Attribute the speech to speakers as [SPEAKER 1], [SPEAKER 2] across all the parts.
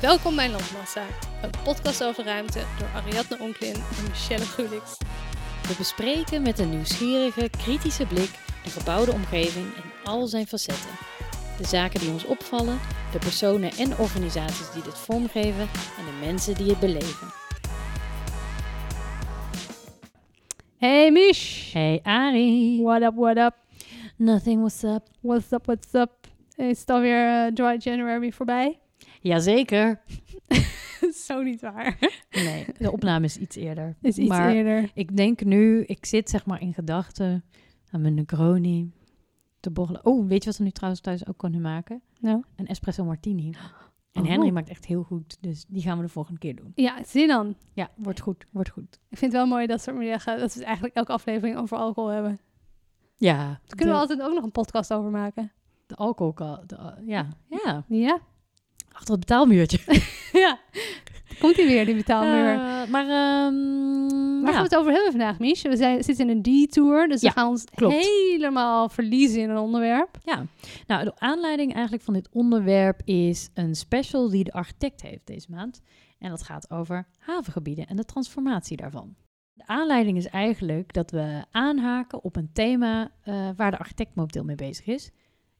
[SPEAKER 1] Welkom bij Landmassa, een podcast over ruimte door Ariadne Onklin en Michelle Gulix.
[SPEAKER 2] We bespreken met een nieuwsgierige, kritische blik de gebouwde omgeving in al zijn facetten. De zaken die ons opvallen, de personen en organisaties die dit vormgeven en de mensen die het beleven.
[SPEAKER 3] Hey Mish.
[SPEAKER 2] Hey Ari,
[SPEAKER 3] What up, what up?
[SPEAKER 2] nothing was up.
[SPEAKER 3] What's up, what's up? Is het alweer eh, Dry January voorbij?
[SPEAKER 2] Jazeker.
[SPEAKER 3] Zo niet waar.
[SPEAKER 2] Nee, de opname is iets eerder.
[SPEAKER 3] Is iets
[SPEAKER 2] maar
[SPEAKER 3] eerder.
[SPEAKER 2] ik denk nu, ik zit zeg maar in gedachten aan mijn Negroni te borrelen. Oh, weet je wat we nu trouwens thuis ook kunnen maken?
[SPEAKER 3] Nou.
[SPEAKER 2] Een espresso martini. En
[SPEAKER 3] Oh.
[SPEAKER 2] Henry maakt echt heel goed, dus die gaan we de volgende keer doen.
[SPEAKER 3] Ja, zin dan.
[SPEAKER 2] Ja, wordt goed, wordt goed.
[SPEAKER 3] Ik vind het wel mooi dat soort middagen, dat we eigenlijk elke aflevering over alcohol hebben.
[SPEAKER 2] Ja.
[SPEAKER 3] Daar kunnen
[SPEAKER 2] de-
[SPEAKER 3] we altijd ook nog een podcast over maken.
[SPEAKER 2] De alcohol, de, al- ja. ja.
[SPEAKER 3] Ja?
[SPEAKER 2] Achter het betaalmuurtje.
[SPEAKER 3] ja. Komt hij weer, die betaalmuur.
[SPEAKER 2] Eh, maar ehm,
[SPEAKER 3] Waar
[SPEAKER 2] ja.
[SPEAKER 3] gaan we het over hebben vandaag, Mich? We zijn, zitten in een detour, dus
[SPEAKER 2] Ja,
[SPEAKER 3] we gaan ons
[SPEAKER 2] klopt.
[SPEAKER 3] helemaal verliezen in een onderwerp.
[SPEAKER 2] ja. Nou, de aanleiding eigenlijk van dit onderwerp is een special die de architect heeft deze maand. En dat gaat over havengebieden en de transformatie daarvan. De aanleiding is eigenlijk dat we aanhaken op een thema eh, waar de architect momenteel mee bezig is.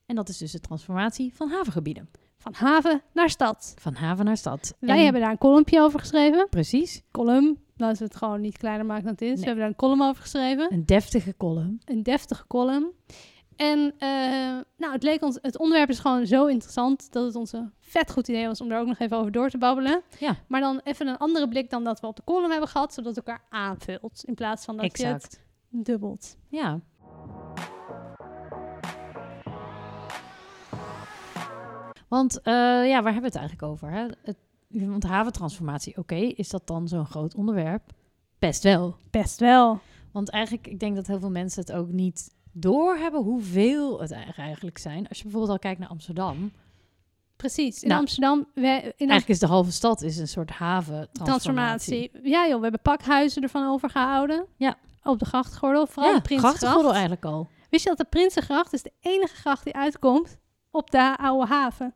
[SPEAKER 2] En dat is dus de transformatie van havengebieden.
[SPEAKER 3] Van haven naar stad.
[SPEAKER 2] Van haven naar stad.
[SPEAKER 3] Wij
[SPEAKER 2] En-
[SPEAKER 3] hebben daar een columnpje over geschreven.
[SPEAKER 2] precies
[SPEAKER 3] Column, laten we het gewoon niet kleiner maken dan het is.
[SPEAKER 2] Nee.
[SPEAKER 3] We hebben daar een column over geschreven.
[SPEAKER 2] een deftige column.
[SPEAKER 3] een deftige column. En eh, nou, het, leek ons, het onderwerp is gewoon zo interessant dat het ons een vet goed idee was om daar ook nog even over door te babbelen.
[SPEAKER 2] Ja.
[SPEAKER 3] Maar dan even een andere blik dan dat we op de column hebben gehad, zodat het elkaar aanvult. In plaats van dat je
[SPEAKER 2] Exact.
[SPEAKER 3] het dubbelt.
[SPEAKER 2] Ja. Want eh, ja, waar hebben we het eigenlijk over? Hè? Het, want haventransformatie, oké, is dat dan zo'n groot onderwerp? Best wel.
[SPEAKER 3] Best wel.
[SPEAKER 2] Want eigenlijk, ik denk dat heel veel mensen het ook niet doorhebben hoeveel het eigenlijk- eigenlijk zijn. Als je bijvoorbeeld al kijkt naar Amsterdam.
[SPEAKER 3] Precies. In
[SPEAKER 2] Nou,
[SPEAKER 3] Amsterdam, we, in Amsterdam
[SPEAKER 2] Eigenlijk is de halve stad is een soort haventransformatie.
[SPEAKER 3] transformatie. Ja joh, we hebben pakhuizen ervan overgehouden.
[SPEAKER 2] Ja.
[SPEAKER 3] Op de grachtgordel, vooral
[SPEAKER 2] Ja,
[SPEAKER 3] de Prinsengracht.
[SPEAKER 2] grachtengordel eigenlijk al.
[SPEAKER 3] Wist je dat de Prinsengracht is de enige gracht die uitkomt op de oude haven?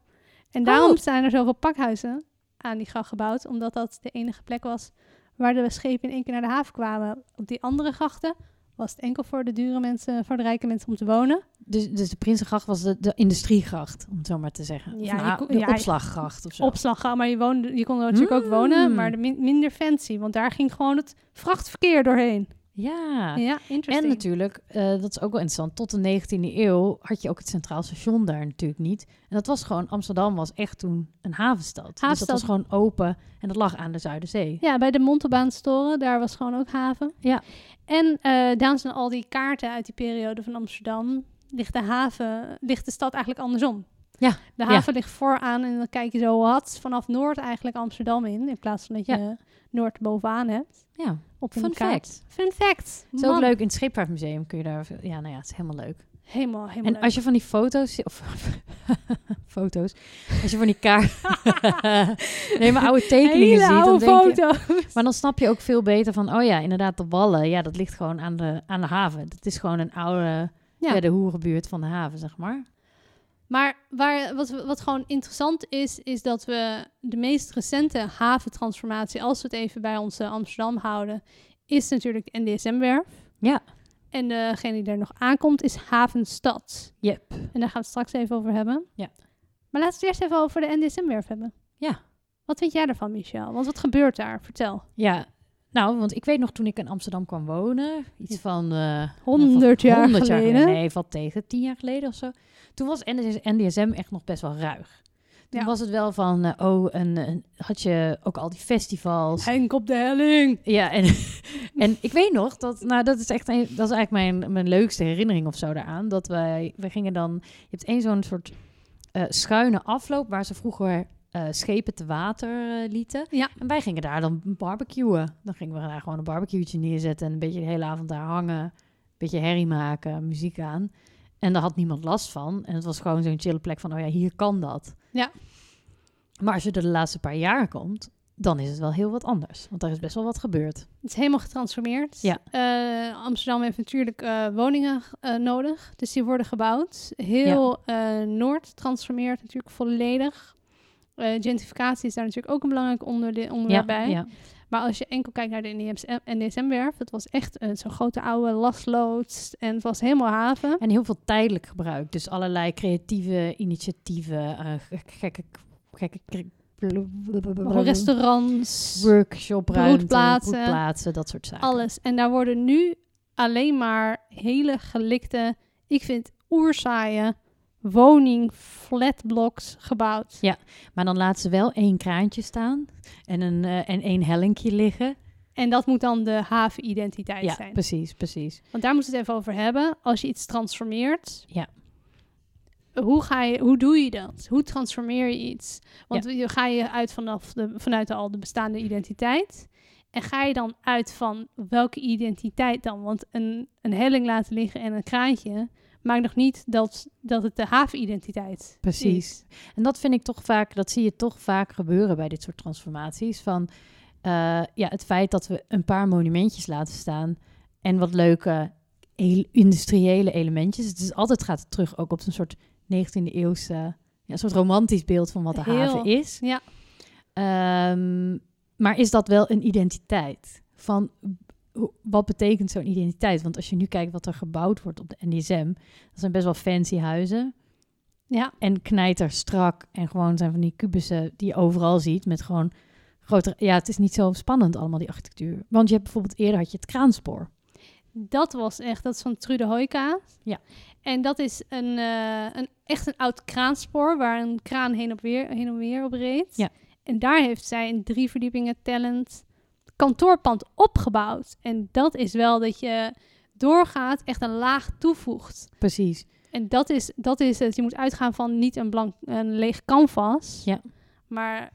[SPEAKER 3] En daarom
[SPEAKER 2] Oh.
[SPEAKER 3] zijn er zoveel pakhuizen aan die gracht gebouwd, omdat dat de enige plek was waar de schepen in één keer naar de haven kwamen. Op die andere grachten was het enkel voor de dure mensen, voor de rijke mensen om te wonen.
[SPEAKER 2] Dus, dus de Prinsengracht was de, de industriegracht, om het zo maar te zeggen.
[SPEAKER 3] Ja,
[SPEAKER 2] Of
[SPEAKER 3] je
[SPEAKER 2] nou,
[SPEAKER 3] kon-
[SPEAKER 2] de
[SPEAKER 3] ja, je-
[SPEAKER 2] opslaggracht of zo.
[SPEAKER 3] Opslaggracht, ah, maar je, woonde, je kon er natuurlijk ook wonen,
[SPEAKER 2] Mm.
[SPEAKER 3] maar de min- minder fancy, want daar ging gewoon het vrachtverkeer doorheen.
[SPEAKER 2] ja.
[SPEAKER 3] Ja,
[SPEAKER 2] En
[SPEAKER 3] interesting.
[SPEAKER 2] natuurlijk, eh, dat is ook wel interessant, tot de 19e eeuw had je ook het Centraal Station daar natuurlijk niet. En dat was gewoon, Amsterdam was echt toen een havenstad. Dus dat
[SPEAKER 3] Havenstad.
[SPEAKER 2] was gewoon open en dat lag aan de Zuiderzee.
[SPEAKER 3] Ja, bij de Montelbaanstoren, daar was gewoon ook haven.
[SPEAKER 2] Ja.
[SPEAKER 3] En eh daarom zijn al die kaarten uit die periode van Amsterdam. Ligt de haven, ligt de stad eigenlijk andersom.
[SPEAKER 2] Ja,
[SPEAKER 3] De haven ligt vooraan en dan kijk je zo wat vanaf noord eigenlijk Amsterdam in. In plaats van dat je noord bovenaan hebt.
[SPEAKER 2] Ja,
[SPEAKER 3] Op een
[SPEAKER 2] fun
[SPEAKER 3] kaart.
[SPEAKER 2] fact.
[SPEAKER 3] Fun fact.
[SPEAKER 2] Het is ook
[SPEAKER 3] Man.
[SPEAKER 2] leuk, in het Scheepvaartmuseum kun je daar... veel- Ja, nou ja, het is helemaal leuk.
[SPEAKER 3] Helemaal, helemaal
[SPEAKER 2] En als je van die foto's... zi- Of, foto's. Als je van die kaart... nee, maar oude tekeningen
[SPEAKER 3] Hele
[SPEAKER 2] ziet, dan
[SPEAKER 3] oude
[SPEAKER 2] denk je...
[SPEAKER 3] foto.
[SPEAKER 2] Maar dan snap je ook veel beter van, oh ja, inderdaad, de Wallen, ja, dat ligt gewoon aan de, aan de haven. Dat is gewoon een oude, ja.
[SPEAKER 3] Ja.
[SPEAKER 2] de hoerenbuurt van de haven, zeg maar.
[SPEAKER 3] Maar waar, wat, wat gewoon interessant is, is dat we de meest recente haventransformatie, als we het even bij onze Amsterdam houden, is natuurlijk de NDSM-werf.
[SPEAKER 2] Ja.
[SPEAKER 3] En degene die er nog aankomt is Havenstad.
[SPEAKER 2] Yep.
[SPEAKER 3] En daar gaan we het straks even over hebben.
[SPEAKER 2] Ja.
[SPEAKER 3] Maar laten we het eerst even over de NDSM-werf hebben.
[SPEAKER 2] Ja.
[SPEAKER 3] Wat vind jij daarvan, Michel? Want wat gebeurt daar? Vertel.
[SPEAKER 2] Ja, nou, want ik weet nog toen ik in Amsterdam kwam wonen, iets van... eh,
[SPEAKER 3] 100 jaar
[SPEAKER 2] 100 jaar geleden.
[SPEAKER 3] geleden.
[SPEAKER 2] Nee, valt tegen, 10 jaar geleden of zo. Toen was NDS NDSM echt nog best wel ruig. Toen
[SPEAKER 3] Ja.
[SPEAKER 2] was het wel van, eh, oh, en, en had je ook al die festivals.
[SPEAKER 3] Henk op de helling.
[SPEAKER 2] Ja, en, en ik weet nog dat, nou, dat is echt een, dat is eigenlijk mijn, mijn leukste herinnering of zo daaraan. Dat wij, we gingen dan, je hebt één zo'n soort eh, schuine afloop waar ze vroeger eh, schepen te water eh, lieten.
[SPEAKER 3] Ja.
[SPEAKER 2] En wij gingen daar dan barbecuen. Dan gingen we daar gewoon een barbecueetje neerzetten en een beetje de hele avond daar hangen. Een beetje herrie maken, muziek aan. En daar had niemand last van. En het was gewoon zo'n chille plek van, oh ja, hier kan dat.
[SPEAKER 3] Ja.
[SPEAKER 2] Maar als je er de laatste paar jaar komt, dan is het wel heel wat anders. Want daar is best wel wat gebeurd.
[SPEAKER 3] Het is helemaal getransformeerd.
[SPEAKER 2] Ja.
[SPEAKER 3] Eh, Amsterdam heeft natuurlijk eh, woningen eh, nodig. Dus die worden gebouwd. Heel eh, Noord transformeert natuurlijk volledig. Eh, gentrificatie is daar natuurlijk ook een belangrijk onderde-
[SPEAKER 2] ja,
[SPEAKER 3] onderwerp bij.
[SPEAKER 2] ja.
[SPEAKER 3] Maar als je enkel kijkt naar de NDSM NDSM-werf, het was echt een zo'n grote oude lasloods en het was helemaal haven.
[SPEAKER 2] En heel veel tijdelijk gebruik. Dus allerlei creatieve initiatieven, eh, gek- gekke, gekke restaurants,
[SPEAKER 3] Restaurants,
[SPEAKER 2] workshopruimte,
[SPEAKER 3] broedplaatsen.
[SPEAKER 2] broedplaatsen, dat soort zaken.
[SPEAKER 3] alles. En daar worden nu alleen maar hele gelikte, ik vind oerzaaie woning flatblocks gebouwd.
[SPEAKER 2] Maar dan laten ze wel één kraantje staan en, een, eh, en één hellinkje liggen.
[SPEAKER 3] En dat moet dan de havenidentiteit
[SPEAKER 2] Ja,
[SPEAKER 3] zijn.
[SPEAKER 2] precies, precies.
[SPEAKER 3] Want daar moeten we het even over hebben. Als je iets transformeert.
[SPEAKER 2] Ja.
[SPEAKER 3] Hoe, ga je, hoe doe je dat? Hoe transformeer je iets? Want je- ga je uit vanaf de, vanuit de, al de bestaande identiteit? En ga je dan uit van welke identiteit dan? Want een, een helling laten liggen en een kraantje maakt nog niet dat, dat het de havenidentiteit
[SPEAKER 2] Precies.
[SPEAKER 3] is.
[SPEAKER 2] En dat vind ik toch vaak, dat zie je toch vaak gebeuren bij dit soort transformaties. Van eh, ja, het feit dat we een paar monumentjes laten staan en wat leuke heel industriële elementjes. Het is altijd gaat het terug ook op een soort 19e eeuwse, ja, soort romantisch beeld van wat de
[SPEAKER 3] Heel,
[SPEAKER 2] haven is.
[SPEAKER 3] ja.
[SPEAKER 2] Ehm, maar is dat wel een identiteit? Van hoe- wat betekent zo'n identiteit? Want als je nu kijkt wat er gebouwd wordt op de NDSM, dat zijn best wel fancy huizen.
[SPEAKER 3] Ja,
[SPEAKER 2] En knijter strak. En gewoon zijn van die kubussen die je overal ziet. Met gewoon grotere... Ja, het is niet zo spannend allemaal, die architectuur. Want je hebt bijvoorbeeld eerder had je het kraanspoor.
[SPEAKER 3] dat was echt, dat is van Trude Hoika.
[SPEAKER 2] Ja.
[SPEAKER 3] En dat is een, eh, een, echt een oud kraanspoor waar een kraan heen, op weer, heen en weer op reed.
[SPEAKER 2] Ja.
[SPEAKER 3] En daar heeft zij een drie verdiepingen talent kantoorpand opgebouwd. En dat is wel dat je doorgaat, echt een laag toevoegt.
[SPEAKER 2] Precies.
[SPEAKER 3] En dat is, dat is het. Je moet uitgaan van niet een, blank, een leeg canvas,
[SPEAKER 2] Ja.
[SPEAKER 3] maar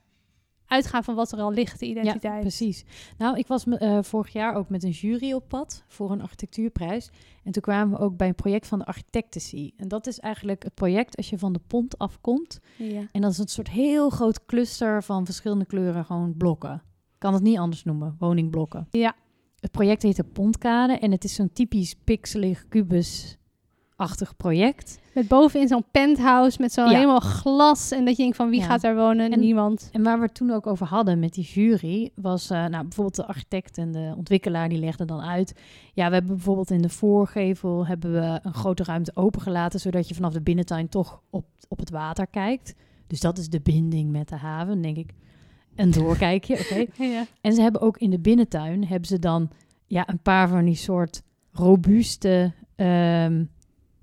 [SPEAKER 3] uitgaan van wat er al ligt, de identiteit.
[SPEAKER 2] Ja, precies. Nou, ik was me- eh, vorig jaar ook met een jury op pad voor een architectuurprijs. En toen kwamen we ook bij een project van de Architectacy. En dat is eigenlijk het project als je van de pont afkomt.
[SPEAKER 3] Ja.
[SPEAKER 2] En dat is een soort heel groot cluster van verschillende kleuren, gewoon blokken. Ik kan het niet anders noemen, woningblokken.
[SPEAKER 3] Ja.
[SPEAKER 2] Het project heet de Pontkade en het is zo'n typisch pixelig kubusachtig project.
[SPEAKER 3] Met bovenin zo'n penthouse met zo'n
[SPEAKER 2] Ja.
[SPEAKER 3] helemaal glas. En dat je denkt van wie
[SPEAKER 2] Ja.
[SPEAKER 3] gaat daar wonen?
[SPEAKER 2] En-
[SPEAKER 3] Niemand.
[SPEAKER 2] En waar we het toen ook over hadden met die jury, was eh, nou, bijvoorbeeld de architect en de ontwikkelaar, die legden dan uit. Ja, we hebben bijvoorbeeld in de voorgevel hebben we een grote ruimte opengelaten, zodat je vanaf de binnentuin toch op, op het water kijkt. Dus dat is de binding met de haven, denk ik. Een doorkijkje, oké.
[SPEAKER 3] Ja.
[SPEAKER 2] En ze hebben ook in de binnentuin hebben ze dan ja, een paar van die soort robuuste, ehm,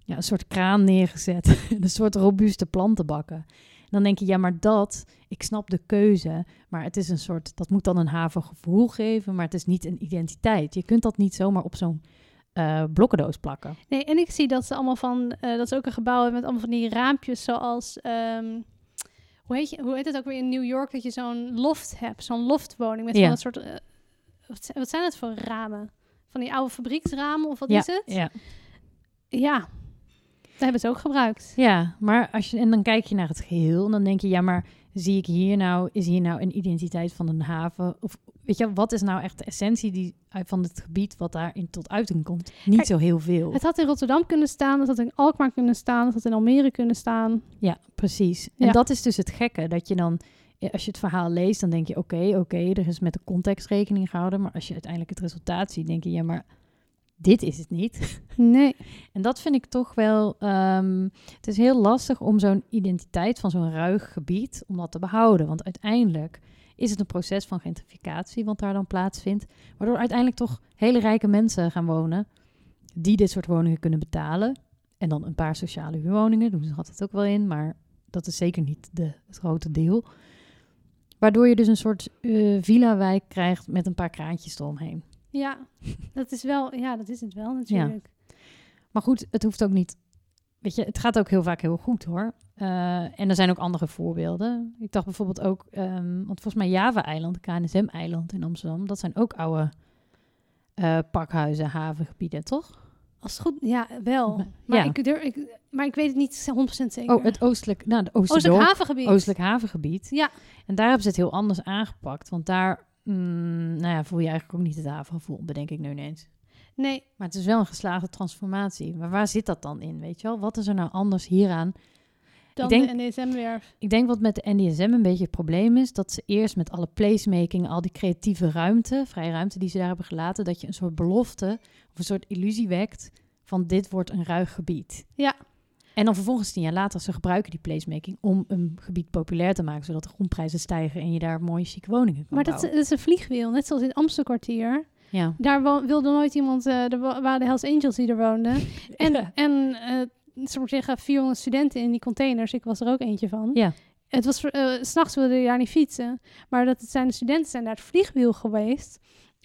[SPEAKER 2] ja, een soort kraan neergezet. een soort robuuste plantenbakken. En dan denk je, ja, maar dat, ik snap de keuze, maar het is een soort, dat moet dan een havengevoel geven, maar het is niet een identiteit. Je kunt dat niet zomaar op zo'n eh, blokkendoos plakken.
[SPEAKER 3] Nee, en ik zie dat ze allemaal van... eh, dat ze ook een gebouw hebben met allemaal van die raampjes zoals... ehm, hoe, heet je, hoe heet het ook weer in New York? Dat je zo'n loft hebt. Zo'n loftwoning met
[SPEAKER 2] Ja.
[SPEAKER 3] van dat soort... eh, wat, zijn, wat zijn dat voor ramen? Van die oude fabrieksramen of wat
[SPEAKER 2] ja,
[SPEAKER 3] is het?
[SPEAKER 2] Ja.
[SPEAKER 3] Ja. Dat hebben ze ook gebruikt.
[SPEAKER 2] Ja, maar als je en dan kijk je naar het geheel en dan denk je, ja, maar zie ik hier nou, is hier nou een identiteit van een haven? Of weet je, wat is nou echt de essentie die, uit- van het gebied wat daarin tot uiting komt? Niet
[SPEAKER 3] Kijk,
[SPEAKER 2] zo heel veel.
[SPEAKER 3] Het had in Rotterdam kunnen staan. Het had in Alkmaar kunnen staan. Het had in Almere kunnen staan.
[SPEAKER 2] Ja, precies. En
[SPEAKER 3] Ja.
[SPEAKER 2] dat is dus het gekke, dat je dan, ja, als je het verhaal leest, dan denk je, oké, oké, er is met de context rekening gehouden, maar als je uiteindelijk het resultaat ziet, denk je, ja, maar dit is het niet.
[SPEAKER 3] Nee.
[SPEAKER 2] En dat vind ik toch wel. ehm, het is heel lastig om zo'n identiteit van zo'n ruig gebied om dat te behouden. Want uiteindelijk is het een proces van gentrificatie wat daar dan plaatsvindt. Waardoor uiteindelijk toch hele rijke mensen gaan wonen die dit soort woningen kunnen betalen. En dan een paar sociale huurwoningen, doen ze altijd ook wel in, maar dat is zeker niet de, het grote deel. Waardoor je dus een soort eh, villa-wijk krijgt met een paar kraantjes eromheen.
[SPEAKER 3] Ja. Dat is wel... Ja, dat is het wel natuurlijk.
[SPEAKER 2] Maar goed, het hoeft ook niet. Weet je, het gaat ook heel vaak heel goed hoor. Eh, en er zijn ook andere voorbeelden. Ik dacht bijvoorbeeld ook, ehm, want volgens mij Java-eiland, KNSM-eiland in Amsterdam, dat zijn ook oude eh, pakhuizen, havengebieden, toch?
[SPEAKER 3] Als het goed, ja, wel.
[SPEAKER 2] Maar-
[SPEAKER 3] Maar,
[SPEAKER 2] ja.
[SPEAKER 3] ik, durf, ik, maar ik weet het niet 100% zeker.
[SPEAKER 2] Oh, het Oh, oostelijk, nou, de
[SPEAKER 3] Oostelijk
[SPEAKER 2] Oosterdorp,
[SPEAKER 3] havengebied.
[SPEAKER 2] oostelijk havengebied.
[SPEAKER 3] Ja.
[SPEAKER 2] En daar hebben ze het heel anders aangepakt, want daar, mm, nou ja, voel je eigenlijk ook niet het havengevoel, bedenk ik nu ineens.
[SPEAKER 3] Nee,
[SPEAKER 2] Maar het is wel een geslaagde transformatie. Maar waar zit dat dan in, weet je wel? Wat is er nou anders hieraan?
[SPEAKER 3] dan
[SPEAKER 2] denk- Oh,
[SPEAKER 3] de NSM-werf.
[SPEAKER 2] Ik denk wat met de NDSM een beetje het probleem is, dat ze eerst met alle placemaking, al die creatieve ruimte, vrije ruimte die ze daar hebben gelaten, dat je een soort belofte of een soort illusie wekt van dit wordt een ruig gebied.
[SPEAKER 3] Ja.
[SPEAKER 2] En dan vervolgens tien jaar later, ze gebruiken die placemaking om een gebied populair te maken, zodat de grondprijzen stijgen en je daar mooie chique woningen kan
[SPEAKER 3] Maar dat,
[SPEAKER 2] bouwen.
[SPEAKER 3] dat is een vliegwiel, net zoals in het Amstelkwartier.
[SPEAKER 2] Ja.
[SPEAKER 3] Daar wo- wilde nooit iemand, eh er wa- waren de Hells Angels die er woonden. En,
[SPEAKER 2] Ja.
[SPEAKER 3] en eh, ze moet zeggen, 400 studenten in die containers, ik was er ook eentje van.
[SPEAKER 2] Ja.
[SPEAKER 3] Het was, voor- eh, 's s'nachts wilde je daar niet fietsen. Maar dat het zijn de studenten zijn naar het vliegwiel geweest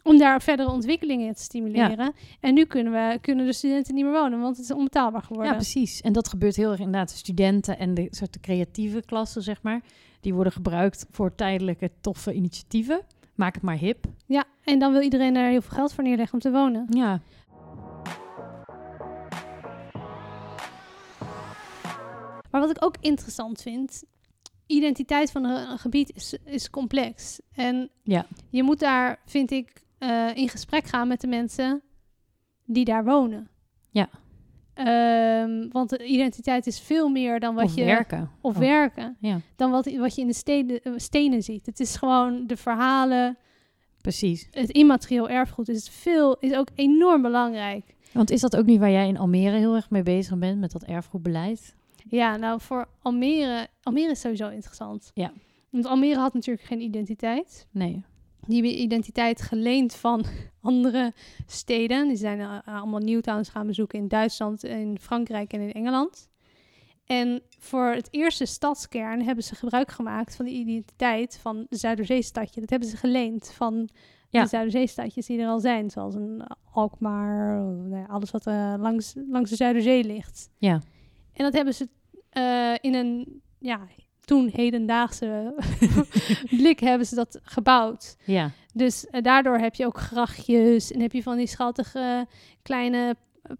[SPEAKER 3] om daar verdere ontwikkelingen in te stimuleren. En nu kunnen, we, kunnen de studenten niet meer wonen, want het is onbetaalbaar geworden.
[SPEAKER 2] ja, precies. En dat gebeurt heel erg inderdaad. De Studenten en de soort creatieve klassen, zeg maar, die worden gebruikt voor tijdelijke toffe initiatieven. Maak het maar hip.
[SPEAKER 3] Ja, en dan wil iedereen daar heel veel geld voor neerleggen om te wonen.
[SPEAKER 2] Ja,
[SPEAKER 3] Maar wat ik ook interessant vind, identiteit van een een gebied is, is complex. En
[SPEAKER 2] Ja.
[SPEAKER 3] je moet daar, vind ik, eh, in gesprek gaan met de mensen die daar wonen.
[SPEAKER 2] Ja.
[SPEAKER 3] Ehm, want de identiteit is veel meer dan wat
[SPEAKER 2] of
[SPEAKER 3] je...
[SPEAKER 2] werken.
[SPEAKER 3] Of
[SPEAKER 2] Oh,
[SPEAKER 3] werken.
[SPEAKER 2] Ja,
[SPEAKER 3] Dan wat, wat je in de steden, eh, stenen ziet. Het is gewoon de verhalen.
[SPEAKER 2] precies.
[SPEAKER 3] Het immaterieel erfgoed is, veel, is ook enorm belangrijk.
[SPEAKER 2] Want is dat ook niet waar jij in Almere heel erg mee bezig bent, met dat erfgoedbeleid?
[SPEAKER 3] Ja, nou voor Almere. Almere is sowieso interessant.
[SPEAKER 2] Ja.
[SPEAKER 3] Want Almere had natuurlijk geen identiteit.
[SPEAKER 2] Nee.
[SPEAKER 3] Die hebben identiteit geleend van andere steden. Die zijn eh, allemaal Newtowns gaan bezoeken in Duitsland, in Frankrijk en in Engeland. En voor het eerste stadskern hebben ze gebruik gemaakt van de identiteit van de Zuiderzeestadje. Dat hebben ze geleend van
[SPEAKER 2] Ja.
[SPEAKER 3] de Zuiderzeestadjes die er al zijn. Zoals een Alkmaar, eh, nou ja, alles wat eh, langs, langs de Zuiderzee ligt.
[SPEAKER 2] Ja.
[SPEAKER 3] En dat hebben ze eh, in een, ja, toen hedendaagse blik hebben ze dat gebouwd.
[SPEAKER 2] Ja.
[SPEAKER 3] Dus eh, daardoor heb je ook grachtjes en heb je van die schattige eh, kleine eh,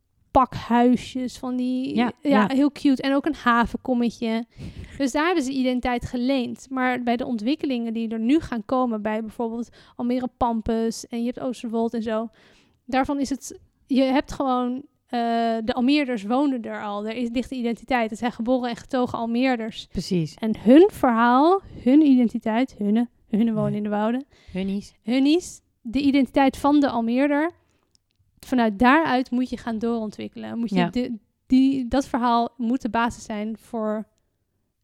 [SPEAKER 3] pakhuisjes, van die,
[SPEAKER 2] Ja, ja.
[SPEAKER 3] heel cute. En ook een havenkommetje. Dus daar hebben ze identiteit geleend. Maar bij de ontwikkelingen die er nu gaan komen, bij bijvoorbeeld Almere Pampus en je hebt Oosterwold en zo, daarvan is het, je hebt gewoon eh, de Almeerders wonen er al. Er is dichte identiteit. Het zijn geboren en getogen Almeerders.
[SPEAKER 2] Precies.
[SPEAKER 3] En hun verhaal, hun identiteit, hunne, hunne wonen in de wouden,
[SPEAKER 2] Hunnies.
[SPEAKER 3] hunnies, de identiteit van de Almeerder. Vanuit daaruit moet je gaan doorontwikkelen. Moet je
[SPEAKER 2] Ja.
[SPEAKER 3] de- die, dat verhaal moet de basis zijn voor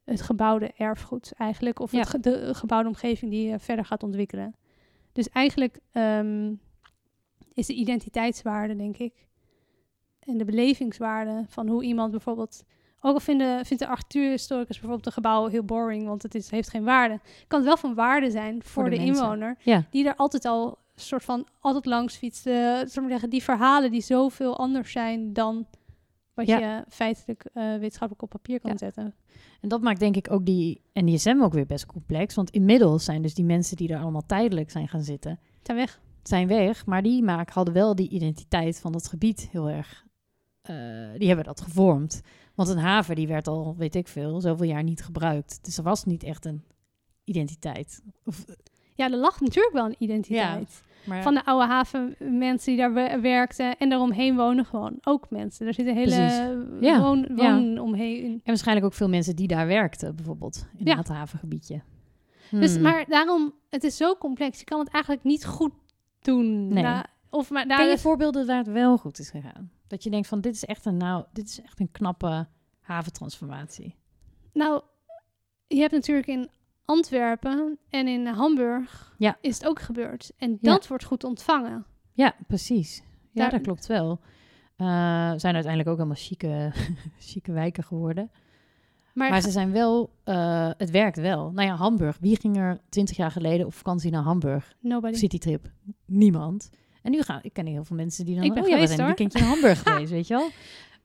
[SPEAKER 3] het gebouwde erfgoed eigenlijk. Of
[SPEAKER 2] Ja.
[SPEAKER 3] het ge- de gebouwde omgeving die je verder gaat ontwikkelen. Dus eigenlijk ehm, is de identiteitswaarde, denk ik, en de belevingswaarde van hoe iemand bijvoorbeeld... Ook al vinden, vindt de architectuurhistoricus bijvoorbeeld een gebouw heel boring, want het is, heeft geen waarde. Kan het wel van waarde zijn voor,
[SPEAKER 2] de
[SPEAKER 3] de,
[SPEAKER 2] mensen.
[SPEAKER 3] inwoner,
[SPEAKER 2] Ja.
[SPEAKER 3] die daar altijd al soort van altijd langs fietste. Zullen we zeggen, die verhalen die zoveel anders zijn dan wat
[SPEAKER 2] Ja.
[SPEAKER 3] je feitelijk eh, wetenschappelijk op papier kan
[SPEAKER 2] Ja.
[SPEAKER 3] zetten.
[SPEAKER 2] En dat maakt denk ik ook die NDSM ook weer best complex. Want inmiddels zijn dus die mensen die er allemaal tijdelijk zijn gaan zitten,
[SPEAKER 3] Zijn weg.
[SPEAKER 2] zijn weg. Maar die maak, hadden wel die identiteit van dat gebied heel erg. eh, die hebben dat gevormd. Want een haven die werd al, weet ik veel, zoveel jaar niet gebruikt. Dus er was niet echt een identiteit.
[SPEAKER 3] Ja, er lag natuurlijk wel een identiteit.
[SPEAKER 2] Maar
[SPEAKER 3] Van de oude haven mensen die daar we- werkten en daaromheen wonen gewoon ook mensen. Er zit een hele
[SPEAKER 2] Precies. Ja,
[SPEAKER 3] woon,
[SPEAKER 2] ja.
[SPEAKER 3] woon omheen.
[SPEAKER 2] En waarschijnlijk ook veel mensen die daar werkten, bijvoorbeeld. In
[SPEAKER 3] Ja.
[SPEAKER 2] het havengebiedje.
[SPEAKER 3] Dus,
[SPEAKER 2] Hmm.
[SPEAKER 3] maar daarom, het is zo complex. Je kan het eigenlijk niet goed doen.
[SPEAKER 2] Nee.
[SPEAKER 3] Na- of maar daar
[SPEAKER 2] Ken je voorbeelden waar het wel goed is gegaan? Dat je denkt van, dit is echt een, nou, dit is echt een knappe haventransformatie.
[SPEAKER 3] Nou, je hebt natuurlijk in Antwerpen en in Hamburg
[SPEAKER 2] Ja.
[SPEAKER 3] is het ook gebeurd. En
[SPEAKER 2] Ja.
[SPEAKER 3] dat wordt goed ontvangen.
[SPEAKER 2] Ja, precies. Ja,
[SPEAKER 3] Daar-
[SPEAKER 2] dat klopt wel. Eh, zijn uiteindelijk ook allemaal chique, chique wijken geworden.
[SPEAKER 3] Maar,
[SPEAKER 2] Maar ze zijn wel, eh, het werkt wel. Nou ja, Hamburg. Wie ging er twintig jaar geleden op vakantie naar Hamburg?
[SPEAKER 3] nobody.
[SPEAKER 2] Citytrip. Niemand. En nu gaan, ik ken heel veel mensen die dan,
[SPEAKER 3] Ik ben
[SPEAKER 2] oh ja, we
[SPEAKER 3] geweest,
[SPEAKER 2] zijn een
[SPEAKER 3] hoor.
[SPEAKER 2] weekendje in Hamburg geweest, weet je wel?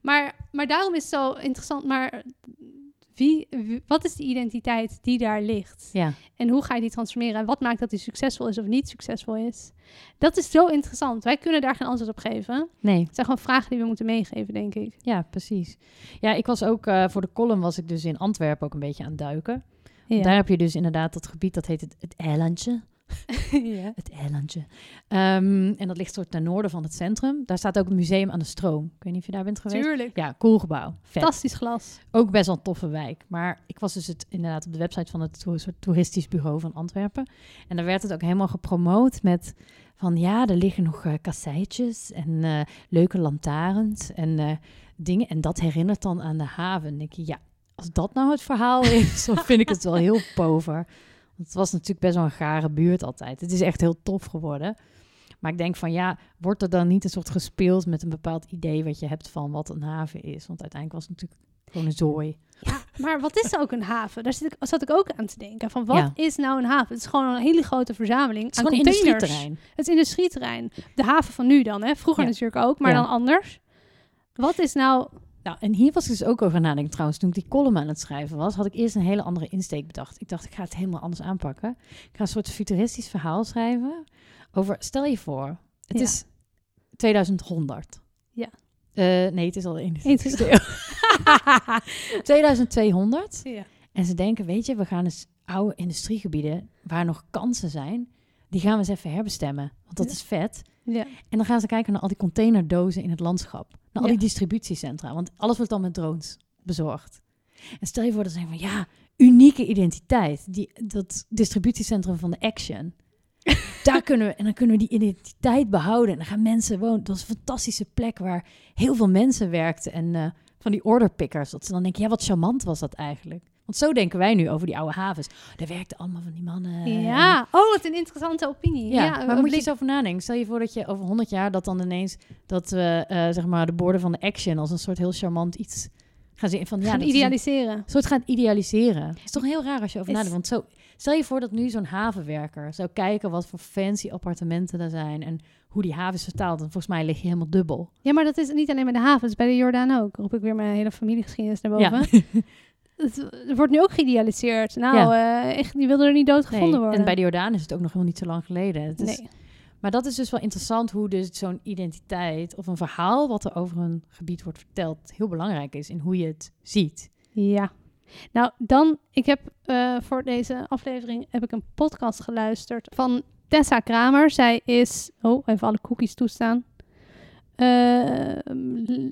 [SPEAKER 3] Maar, maar daarom is het zo interessant. Maar wie, wie- wat is de identiteit die daar ligt?
[SPEAKER 2] Ja,
[SPEAKER 3] En hoe ga je die transformeren? En wat maakt dat die succesvol is of niet succesvol is? Dat is zo interessant. Wij kunnen daar geen antwoord op geven.
[SPEAKER 2] nee.
[SPEAKER 3] Het zijn gewoon vragen die we moeten meegeven, denk ik.
[SPEAKER 2] Ja, precies. Ja, ik was ook eh, voor de column was ik dus in Antwerpen ook een beetje aan het duiken.
[SPEAKER 3] Ja.
[SPEAKER 2] Daar heb je dus inderdaad dat gebied dat heet het, het Eilandje.
[SPEAKER 3] ja.
[SPEAKER 2] Het eilandje. Ehm, en dat ligt soort ten noorden van het centrum. Daar staat ook het museum aan de stroom. Ik weet niet of je daar bent geweest.
[SPEAKER 3] Tuurlijk.
[SPEAKER 2] Ja, cool gebouw. Vet.
[SPEAKER 3] Fantastisch glas.
[SPEAKER 2] Ook best wel een toffe wijk. Maar ik was dus het, inderdaad op de website van het to- soort toeristisch bureau van Antwerpen. En daar werd het ook helemaal gepromoot met van ja, er liggen nog eh kasseitjes en eh, leuke lantaarns en eh, dingen. En dat herinnert dan aan de haven. Dan denk je, ja, als dat nou het verhaal is, dan vind ik het wel heel pover. Want het was natuurlijk best wel een gare buurt altijd. Het is echt heel tof geworden. Maar ik denk van ja, wordt er dan niet een soort gespeeld met een bepaald idee wat je hebt van wat een haven is? Want uiteindelijk was het natuurlijk gewoon een zooi.
[SPEAKER 3] Ja, maar wat is ook een haven? Daar zit ik, zat ik ook aan te denken. Van wat
[SPEAKER 2] Ja.
[SPEAKER 3] is nou een haven? Het is gewoon een hele grote verzameling
[SPEAKER 2] Het is
[SPEAKER 3] aan
[SPEAKER 2] gewoon een
[SPEAKER 3] containers.
[SPEAKER 2] industrieterrein.
[SPEAKER 3] Het industrieterrein. De haven van nu dan, hè? Vroeger
[SPEAKER 2] Ja.
[SPEAKER 3] natuurlijk ook, maar
[SPEAKER 2] Ja.
[SPEAKER 3] dan anders. Wat is nou...
[SPEAKER 2] Nou, en hier was ik dus ook over nadenken trouwens. Toen ik die column aan het schrijven was, had ik eerst een hele andere insteek bedacht. Ik dacht, ik ga het helemaal anders aanpakken. Ik ga een soort futuristisch verhaal schrijven over, stel je voor, het
[SPEAKER 3] Ja.
[SPEAKER 2] is 2100.
[SPEAKER 3] Ja.
[SPEAKER 2] Eh, nee, het is al de 21ste
[SPEAKER 3] 21ste
[SPEAKER 2] eeuw. 2200.
[SPEAKER 3] Ja.
[SPEAKER 2] En ze denken, weet je, we gaan eens oude industriegebieden waar nog kansen zijn, die gaan we eens even herbestemmen. Want dat
[SPEAKER 3] Ja.
[SPEAKER 2] is vet.
[SPEAKER 3] Ja.
[SPEAKER 2] En dan gaan ze kijken naar al die containerdozen in het landschap. Naar al
[SPEAKER 3] Ja.
[SPEAKER 2] die distributiecentra. Want alles wordt dan met drones bezorgd. En stel je voor dat ze zeggen van ja, unieke identiteit. Die, dat distributiecentrum van de Action. Daar kunnen we, en dan kunnen we die identiteit behouden. En dan gaan mensen wonen. Dat is een fantastische plek waar heel veel mensen werkten. En eh, van die orderpickers. Dat ze dan denken, ja, wat charmant was dat eigenlijk. Want zo denken wij nu over die oude havens. Daar werkten allemaal van die mannen.
[SPEAKER 3] ja. Oh, wat een interessante opinie.
[SPEAKER 2] Eh. Ja,
[SPEAKER 3] Ja,
[SPEAKER 2] maar moet je
[SPEAKER 3] blik-
[SPEAKER 2] eens over nadenken. Stel je voor dat je over 100 jaar dat dan ineens dat we eh, zeg maar de borden van de action als een soort heel charmant iets gaan zien van ja,
[SPEAKER 3] gaan
[SPEAKER 2] dat is een
[SPEAKER 3] idealiseren.
[SPEAKER 2] soort gaan idealiseren. Het is toch heel raar als je over
[SPEAKER 3] Is-
[SPEAKER 2] nadenkt, want zo stel je voor dat nu zo'n havenwerker zou kijken wat voor fancy appartementen er zijn en hoe die haven is vertaald. En volgens mij lig je helemaal dubbel.
[SPEAKER 3] Ja, maar dat is niet alleen bij de havens, bij de Jordaan ook. Roep ik weer mijn hele familiegeschiedenis naar boven. Het, het wordt nu ook geïdealiseerd. Nou, eh, echt, die wilde er niet doodgevonden
[SPEAKER 2] Nee,
[SPEAKER 3] worden.
[SPEAKER 2] En bij de Jordaan is het ook nog helemaal niet zo lang geleden. Het is,
[SPEAKER 3] nee.
[SPEAKER 2] Maar dat is dus wel interessant hoe dus zo'n identiteit of een verhaal wat er over een gebied wordt verteld heel belangrijk is in hoe je het ziet.
[SPEAKER 3] Ja. Nou, dan, ik heb eh, voor deze aflevering heb ik een podcast geluisterd van Tessa Kramer. Zij is, oh, even alle cookies toestaan. Eh, l-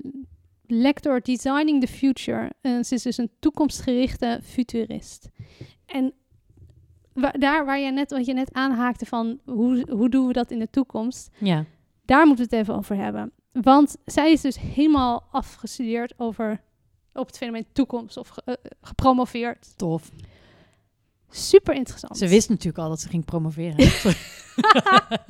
[SPEAKER 3] lector Designing the Future. En ze is dus een toekomstgerichte futurist. En wa- daar waar je net, wat je net aanhaakte van hoe, hoe doen we dat in de toekomst.
[SPEAKER 2] Ja.
[SPEAKER 3] daar moeten we het even over hebben. Want zij is dus helemaal afgestudeerd over op het fenomeen toekomst of ge- eh, gepromoveerd.
[SPEAKER 2] Tof.
[SPEAKER 3] Super interessant.
[SPEAKER 2] Ze wist natuurlijk al dat ze ging promoveren. Sorry.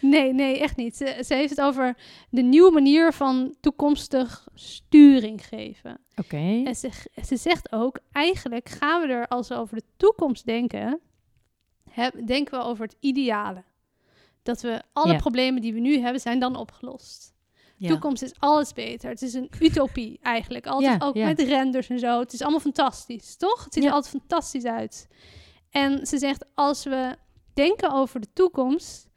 [SPEAKER 3] nee, nee, echt niet. Ze, ze heeft het over de nieuwe manier van toekomstig sturing geven.
[SPEAKER 2] Oké.
[SPEAKER 3] En ze, ze zegt ook, eigenlijk gaan we er als we over de toekomst denken, heb- denken we over het ideale. Dat we alle
[SPEAKER 2] Ja.
[SPEAKER 3] problemen die we nu hebben, zijn dan opgelost.
[SPEAKER 2] Ja.
[SPEAKER 3] toekomst is alles beter. Het is een utopie eigenlijk. Altijd
[SPEAKER 2] Ja,
[SPEAKER 3] ook
[SPEAKER 2] ja.
[SPEAKER 3] met renders en zo. Het is allemaal fantastisch, toch? Het ziet
[SPEAKER 2] Ja.
[SPEAKER 3] er altijd fantastisch uit. En ze zegt, als we denken over de toekomst,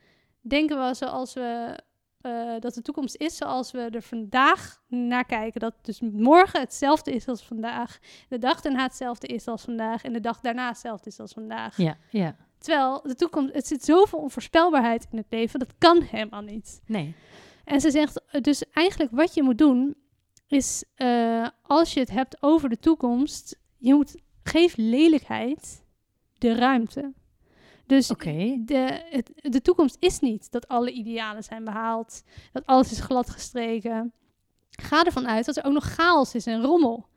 [SPEAKER 3] denken we zoals we eh, dat de toekomst is zoals we er vandaag naar kijken. Dat dus morgen hetzelfde is als vandaag. De dag daarna hetzelfde is als vandaag. En de dag daarna hetzelfde is als vandaag.
[SPEAKER 2] Ja, ja.
[SPEAKER 3] Terwijl de toekomst, het zit zoveel onvoorspelbaarheid in het leven. Dat kan helemaal niet.
[SPEAKER 2] Nee.
[SPEAKER 3] En ze zegt eh, dus eigenlijk wat je moet doen is eh, als je het hebt over de toekomst, je moet geef lelijkheid de ruimte. Dus
[SPEAKER 2] Oké.
[SPEAKER 3] de, het- de toekomst is niet dat alle idealen zijn behaald, dat alles is gladgestreken. Ga ervan uit dat er ook nog chaos is en rommel.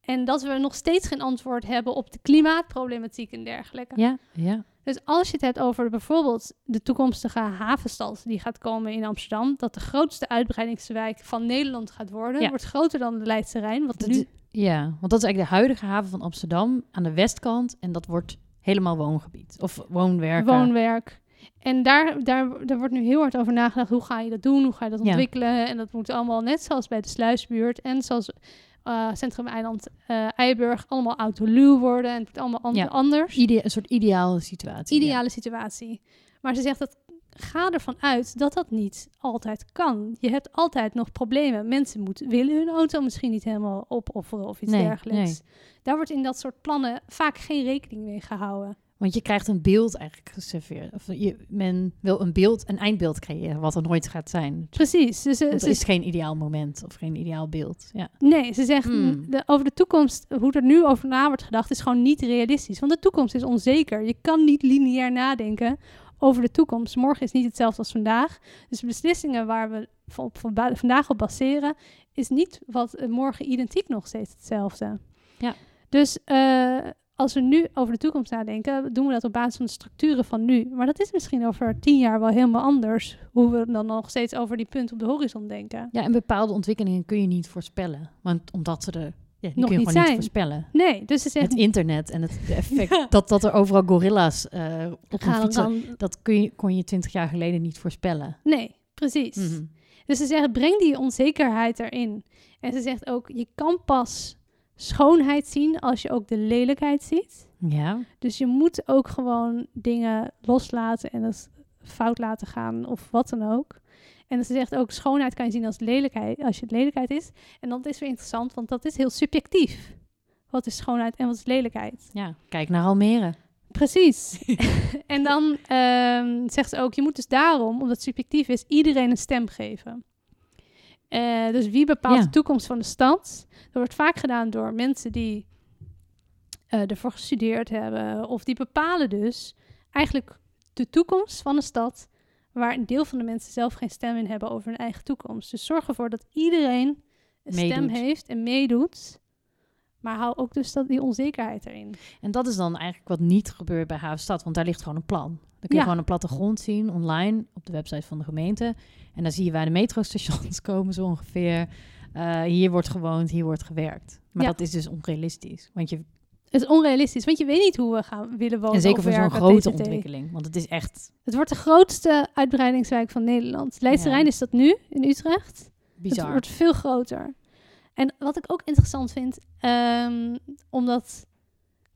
[SPEAKER 3] En dat we nog steeds geen antwoord hebben op de klimaatproblematiek en dergelijke.
[SPEAKER 2] Ja, ja.
[SPEAKER 3] Dus als je het hebt over bijvoorbeeld de toekomstige havenstad die gaat komen in Amsterdam, dat de grootste uitbreidingswijk van Nederland gaat worden,
[SPEAKER 2] Ja.
[SPEAKER 3] wordt groter dan de Leidse Rijn. Want
[SPEAKER 2] Dat
[SPEAKER 3] nu,
[SPEAKER 2] is- Ja, want dat is eigenlijk de huidige haven van Amsterdam aan de westkant. En dat wordt helemaal woongebied. Of woonwerken.
[SPEAKER 3] woonwerk. En daar, daar, daar wordt nu heel hard over nagedacht. Hoe ga je dat doen? Hoe ga je dat
[SPEAKER 2] Ja.
[SPEAKER 3] ontwikkelen? En dat moet allemaal net zoals bij de Sluisbuurt en zoals eh, Centrum Eiland eh Eiburg allemaal autoluw worden. En het moet allemaal an-
[SPEAKER 2] Ja.
[SPEAKER 3] anders.
[SPEAKER 2] Ide- een soort ideale situatie. ja.
[SPEAKER 3] ideale situatie. Maar ze zegt dat ga ervan uit dat dat niet altijd kan. Je hebt altijd nog problemen. Mensen moeten, willen hun auto misschien niet helemaal opofferen of iets
[SPEAKER 2] Nee,
[SPEAKER 3] dergelijks. Daar wordt in dat soort plannen vaak geen rekening mee gehouden.
[SPEAKER 2] Want je krijgt een beeld eigenlijk geserveerd. Of je, men wil een beeld, een eindbeeld creëren, wat er nooit gaat zijn.
[SPEAKER 3] Precies. Dus, eh,
[SPEAKER 2] Want
[SPEAKER 3] ze,
[SPEAKER 2] er is geen ideaal moment of geen ideaal beeld. Ja.
[SPEAKER 3] nee, ze zegt
[SPEAKER 2] Hmm.
[SPEAKER 3] de, over de toekomst, hoe er nu over na wordt gedacht, is gewoon niet realistisch. Want de toekomst is onzeker. Je kan niet lineair nadenken over de toekomst. Morgen is niet hetzelfde als vandaag. Dus beslissingen waar we van- op, van ba- vandaag op baseren, is niet wat eh, morgen identiek nog steeds hetzelfde.
[SPEAKER 2] Ja.
[SPEAKER 3] Dus eh, als we nu over de toekomst nadenken, doen we dat op basis van de structuren van nu. Maar dat is misschien over tien jaar wel helemaal anders, hoe we dan nog steeds over die punt op de horizon denken.
[SPEAKER 2] ja, en bepaalde ontwikkelingen kun je niet voorspellen. Want omdat ze er ja, die
[SPEAKER 3] Nog
[SPEAKER 2] kun je
[SPEAKER 3] niet
[SPEAKER 2] gewoon
[SPEAKER 3] zijn.
[SPEAKER 2] niet voorspellen.
[SPEAKER 3] Nee, dus ze zegt,
[SPEAKER 2] Het internet en het de effect
[SPEAKER 3] Ja.
[SPEAKER 2] dat, dat er overal gorilla's eh op een
[SPEAKER 3] gaan we
[SPEAKER 2] fiets
[SPEAKER 3] dan...
[SPEAKER 2] Dat kun je, kon je twintig jaar geleden niet voorspellen.
[SPEAKER 3] Nee, precies.
[SPEAKER 2] Mhm.
[SPEAKER 3] Dus ze zegt, breng die onzekerheid erin. En ze zegt ook, je kan pas schoonheid zien als je ook de lelijkheid ziet.
[SPEAKER 2] Ja,
[SPEAKER 3] Dus je moet ook gewoon dingen loslaten en dat fout laten gaan of wat dan ook. En ze zegt ook, schoonheid kan je zien als lelijkheid, als je het lelijkheid is. En dat is weer interessant, want dat is heel subjectief. Wat is schoonheid en wat is lelijkheid?
[SPEAKER 2] ja, kijk naar Almere.
[SPEAKER 3] Precies. en dan ehm, zegt ze ook, je moet dus daarom, omdat het subjectief is, iedereen een stem geven. Eh, dus wie bepaalt
[SPEAKER 2] Ja.
[SPEAKER 3] de toekomst van de stad? Dat wordt vaak gedaan door mensen die eh, ervoor gestudeerd hebben. Of die bepalen dus eigenlijk de toekomst van de stad. Waar een deel van de mensen zelf geen stem in hebben over hun eigen toekomst. Dus zorg ervoor dat iedereen een stem
[SPEAKER 2] Meedoet.
[SPEAKER 3] heeft en meedoet. Maar hou ook dus dat, die onzekerheid erin.
[SPEAKER 2] En dat is dan eigenlijk wat niet gebeurt bij Havenstad, want daar ligt gewoon een plan. Dan kun je
[SPEAKER 3] Ja.
[SPEAKER 2] gewoon een plattegrond zien online op de website van de gemeente. En dan zie je waar de metrostations komen zo ongeveer. Eh, hier wordt gewoond, hier wordt gewerkt. Maar
[SPEAKER 3] Ja.
[SPEAKER 2] dat is dus onrealistisch. Want je,
[SPEAKER 3] Het is onrealistisch, want je weet niet hoe we gaan willen wonen.
[SPEAKER 2] en zeker
[SPEAKER 3] of
[SPEAKER 2] voor zo'n
[SPEAKER 3] werken,
[SPEAKER 2] grote
[SPEAKER 3] TTT.
[SPEAKER 2] ontwikkeling. Want het is echt
[SPEAKER 3] Het wordt de grootste uitbreidingswijk van Nederland. Leidse
[SPEAKER 2] Ja.
[SPEAKER 3] Rijn is dat nu in Utrecht. Het
[SPEAKER 2] bizar.
[SPEAKER 3] wordt veel groter. En wat ik ook interessant vind, ehm, omdat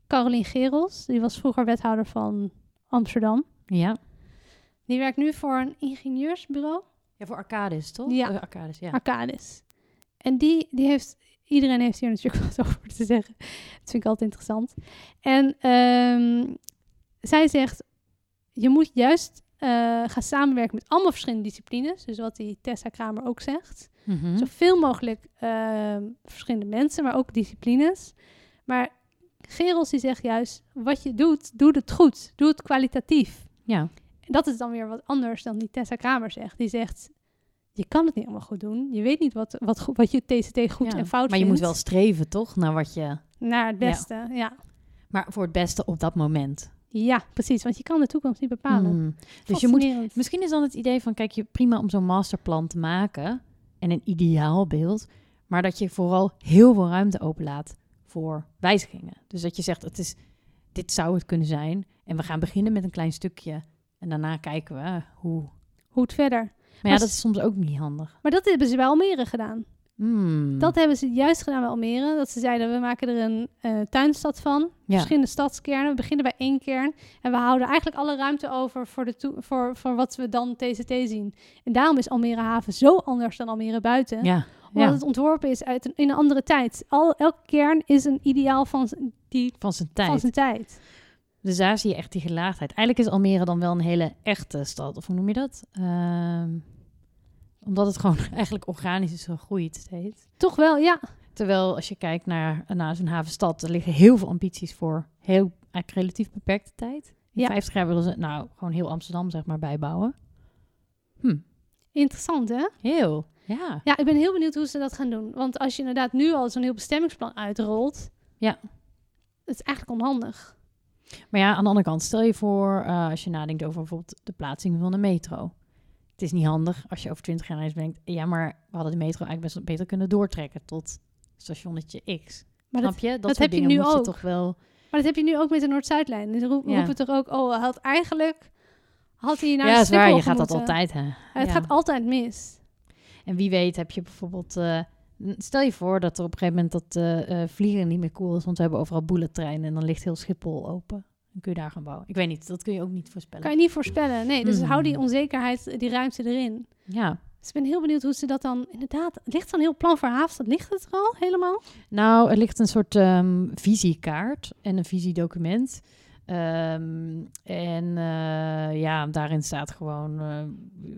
[SPEAKER 3] Caroline Gerels, die was vroeger wethouder van Amsterdam,
[SPEAKER 2] Ja.
[SPEAKER 3] die werkt nu voor een ingenieursbureau,
[SPEAKER 2] ja, voor Arcades, toch?
[SPEAKER 3] Ja.
[SPEAKER 2] Eh, Arcades, ja.
[SPEAKER 3] Arcadis. En die, die heeft, iedereen heeft hier natuurlijk wat over te zeggen. Dat vind ik altijd interessant. En ehm, zij zegt, je moet juist eh, gaan samenwerken met allemaal verschillende disciplines. Dus wat die Tessa Kramer ook zegt.
[SPEAKER 2] Mhm.
[SPEAKER 3] Zoveel mogelijk ehm, verschillende mensen, maar ook disciplines. Maar Gerels die zegt juist, wat je doet, doe het goed. Doe het kwalitatief.
[SPEAKER 2] ja.
[SPEAKER 3] En dat is dan weer wat anders dan die Tessa Kramer zegt. Die zegt, je kan het niet allemaal goed doen. Je weet niet wat, wat, goed- wat je TCT goed
[SPEAKER 2] Ja.
[SPEAKER 3] en fout
[SPEAKER 2] Maar je moet wel
[SPEAKER 3] vindt.
[SPEAKER 2] streven, toch? Naar wat je...
[SPEAKER 3] Naar het
[SPEAKER 2] Ja.
[SPEAKER 3] beste, ja. ja.
[SPEAKER 2] Maar voor het beste op dat moment.
[SPEAKER 3] precies. Want je kan de toekomst niet bepalen.
[SPEAKER 2] Mm. Dus je moet
[SPEAKER 3] Fascinerend.
[SPEAKER 2] Misschien is dan het idee van, kijk, je prima om zo'n masterplan te maken en een ideaal beeld, maar dat je vooral heel veel ruimte openlaat voor wijzigingen. Dus dat je zegt, het is, dit zou het kunnen zijn en we gaan beginnen met een klein stukje en daarna kijken we hoe. Maar,
[SPEAKER 3] Hoe het verder.
[SPEAKER 2] ja,
[SPEAKER 3] s-
[SPEAKER 2] dat is soms ook niet handig.
[SPEAKER 3] Maar dat hebben ze bij Almere
[SPEAKER 2] Mm.
[SPEAKER 3] gedaan.
[SPEAKER 2] Hmm.
[SPEAKER 3] Dat hebben ze juist gedaan bij Almere. Dat ze zeiden, we maken er een eh, tuinstad van.
[SPEAKER 2] ja.
[SPEAKER 3] Verschillende stadskernen. We beginnen bij één kern. En we houden eigenlijk alle ruimte over voor, de toe- voor, voor wat we dan TCT zien. En daarom is Almere Haven zo anders dan Almere Buiten.
[SPEAKER 2] Ja.
[SPEAKER 3] Omdat
[SPEAKER 2] Ja.
[SPEAKER 3] het ontworpen is uit een, in een andere tijd. Al, elke kern is een ideaal van, z- die,
[SPEAKER 2] van zijn
[SPEAKER 3] van
[SPEAKER 2] tijd.
[SPEAKER 3] zijn tijd.
[SPEAKER 2] Dus daar zie je echt die gelaagdheid. Eigenlijk is Almere dan wel een hele echte stad, of hoe noem je dat? Ehm, omdat het gewoon eigenlijk organisch is gegroeid steeds.
[SPEAKER 3] Toch wel, ja.
[SPEAKER 2] Terwijl als je kijkt naar, naar zo'n havenstad, er liggen heel veel ambities voor heel eigenlijk relatief beperkte tijd. In
[SPEAKER 3] Ja.
[SPEAKER 2] 50 jaar willen ze nou gewoon heel Amsterdam zeg maar bijbouwen.
[SPEAKER 3] Interessant, hè?
[SPEAKER 2] Heel. Ja.
[SPEAKER 3] Ja, ik ben heel benieuwd hoe ze dat gaan doen. Want als je inderdaad nu al zo'n heel bestemmingsplan uitrolt...
[SPEAKER 2] Ja.
[SPEAKER 3] Het is eigenlijk onhandig.
[SPEAKER 2] Maar ja, aan de andere kant, stel je voor eh, als je nadenkt over bijvoorbeeld de plaatsing van de metro. Het is niet handig als je over 20 jaar eens denkt, ja, maar we hadden de metro eigenlijk best wel beter kunnen doortrekken tot stationnetje X.
[SPEAKER 3] Maar dat,
[SPEAKER 2] Snap je? Dat,
[SPEAKER 3] dat heb
[SPEAKER 2] soort
[SPEAKER 3] je
[SPEAKER 2] dingen
[SPEAKER 3] nu
[SPEAKER 2] moet
[SPEAKER 3] ook.
[SPEAKER 2] je toch wel...
[SPEAKER 3] maar dat heb je nu ook met de Noord-Zuidlijn. Dus roep-
[SPEAKER 2] Ja.
[SPEAKER 3] roepen toch ook... Oh, hij had eigenlijk... Had hij naar
[SPEAKER 2] ja,
[SPEAKER 3] de
[SPEAKER 2] dat is waar.
[SPEAKER 3] Schiphol
[SPEAKER 2] Je gaat dat
[SPEAKER 3] gemoeten.
[SPEAKER 2] altijd, hè?
[SPEAKER 3] Het
[SPEAKER 2] Ja.
[SPEAKER 3] gaat altijd mis.
[SPEAKER 2] En wie weet heb je bijvoorbeeld... eh, n- stel je voor dat er op een gegeven moment dat eh, eh, vliegen niet meer cool is... want we hebben overal bullettreinen en dan ligt heel Schiphol open. Dan kun je daar gaan bouwen. Ik weet niet, dat kun je ook niet voorspellen.
[SPEAKER 3] Kan je niet voorspellen. Nee, dus
[SPEAKER 2] Mhm.
[SPEAKER 3] hou die onzekerheid, die ruimte erin.
[SPEAKER 2] Ja,
[SPEAKER 3] Dus ik ben heel benieuwd hoe ze dat dan... Inderdaad, ligt zo'n heel plan voor Haafstad? Ligt het er al helemaal?
[SPEAKER 2] nou, er ligt een soort ehm, visiekaart en een visiedocument... Ehm, en eh, ja, daarin staat gewoon, eh,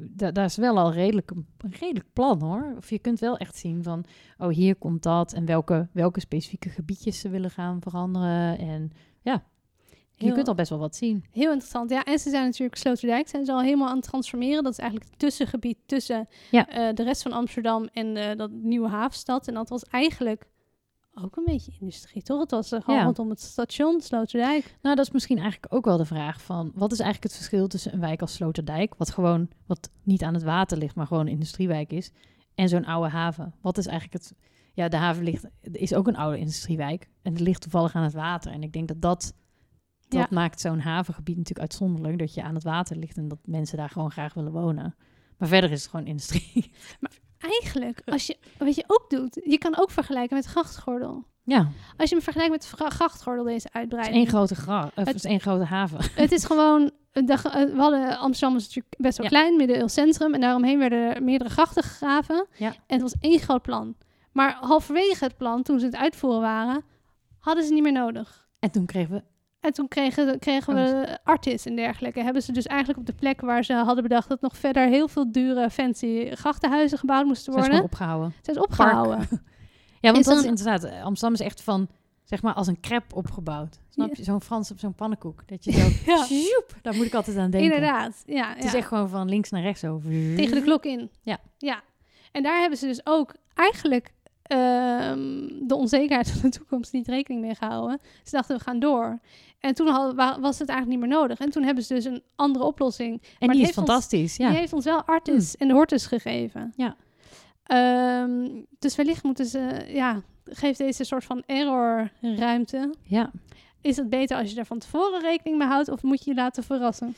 [SPEAKER 2] da- daar is wel al redelijk, een een redelijk plan hoor. Of je kunt wel echt zien van, oh hier komt dat en welke, welke specifieke gebiedjes ze willen gaan veranderen. En ja, je
[SPEAKER 3] Heel-
[SPEAKER 2] kunt al best wel wat zien.
[SPEAKER 3] Heel interessant. Ja, en ze zijn natuurlijk Sloterdijk. Zijn ze al helemaal aan het transformeren. Dat is eigenlijk het tussengebied tussen
[SPEAKER 2] Ja.
[SPEAKER 3] eh, de rest van Amsterdam en eh, dat nieuwe havenstad. En dat was eigenlijk ook een beetje industrie, toch? Het was eh, gewoon
[SPEAKER 2] Ja.
[SPEAKER 3] rondom het station Sloterdijk.
[SPEAKER 2] Nou, dat is misschien eigenlijk ook wel de vraag van, wat is eigenlijk het verschil tussen een wijk als Sloterdijk, wat gewoon, wat niet aan het water ligt, maar gewoon een industriewijk is, en zo'n oude haven? Wat is eigenlijk het, ja, de haven ligt, is ook een oude industriewijk en het ligt toevallig aan het water. En ik denk dat dat, dat
[SPEAKER 3] Ja.
[SPEAKER 2] maakt zo'n havengebied natuurlijk uitzonderlijk, dat je aan het water ligt en dat mensen daar gewoon graag willen wonen. Maar verder is het gewoon industrie.
[SPEAKER 3] Eigenlijk, als je, wat je ook doet, je kan ook vergelijken met grachtgordel.
[SPEAKER 2] Ja,
[SPEAKER 3] Als je hem vergelijkt met Gra- grachtgordel, deze
[SPEAKER 2] het is
[SPEAKER 3] uitbreiding.
[SPEAKER 2] één grote, gra- of het is één grote haven.
[SPEAKER 3] Het is gewoon. de g- eh, we hadden Amsterdam was natuurlijk best wel
[SPEAKER 2] Ja.
[SPEAKER 3] klein, middeleeuw centrum. En daaromheen werden er meerdere grachten gegraven.
[SPEAKER 2] Ja.
[SPEAKER 3] En het was één groot plan. Maar halverwege het plan, toen ze het uitvoeren waren, hadden ze niet meer nodig.
[SPEAKER 2] En toen kregen we,
[SPEAKER 3] En toen kregen, kregen we artis en dergelijke. Hebben ze dus eigenlijk op de plek waar ze hadden bedacht dat nog verder heel veel dure, fancy grachtenhuizen gebouwd moesten
[SPEAKER 2] zijn ze
[SPEAKER 3] worden,
[SPEAKER 2] gewoon opgehouden.
[SPEAKER 3] zijn ze opgehouden.
[SPEAKER 2] Ja, want
[SPEAKER 3] Is
[SPEAKER 2] dat is
[SPEAKER 3] dan-
[SPEAKER 2] inderdaad. eh, Amsterdam is echt van, zeg maar, als een crepe opgebouwd. Snap
[SPEAKER 3] Ja.
[SPEAKER 2] je? Zo'n Frans op zo'n pannenkoek. Dat je zo,
[SPEAKER 3] Ja.
[SPEAKER 2] sjoep, daar moet ik altijd aan denken.
[SPEAKER 3] Inderdaad. Ja,
[SPEAKER 2] Het is echt gewoon van links naar rechts over.
[SPEAKER 3] tegen de klok in.
[SPEAKER 2] Mhm. Ja.
[SPEAKER 3] ja. En daar hebben ze dus ook eigenlijk ehm, de onzekerheid van de toekomst niet rekening mee gehouden. Ze dachten, we gaan door. En toen hadden- wa- was het eigenlijk niet meer nodig. En toen hebben ze dus een andere oplossing.
[SPEAKER 2] En
[SPEAKER 3] die
[SPEAKER 2] die is
[SPEAKER 3] heeft ons-
[SPEAKER 2] fantastisch, ja.
[SPEAKER 3] Die heeft ons wel Artis en de Hortus gegeven.
[SPEAKER 2] Ja.
[SPEAKER 3] Ehm, dus wellicht moeten ze... Ja, geeft deze soort van error ruimte.
[SPEAKER 2] ja.
[SPEAKER 3] Is het beter als je daar van tevoren rekening mee houdt... of moet je je laten verrassen?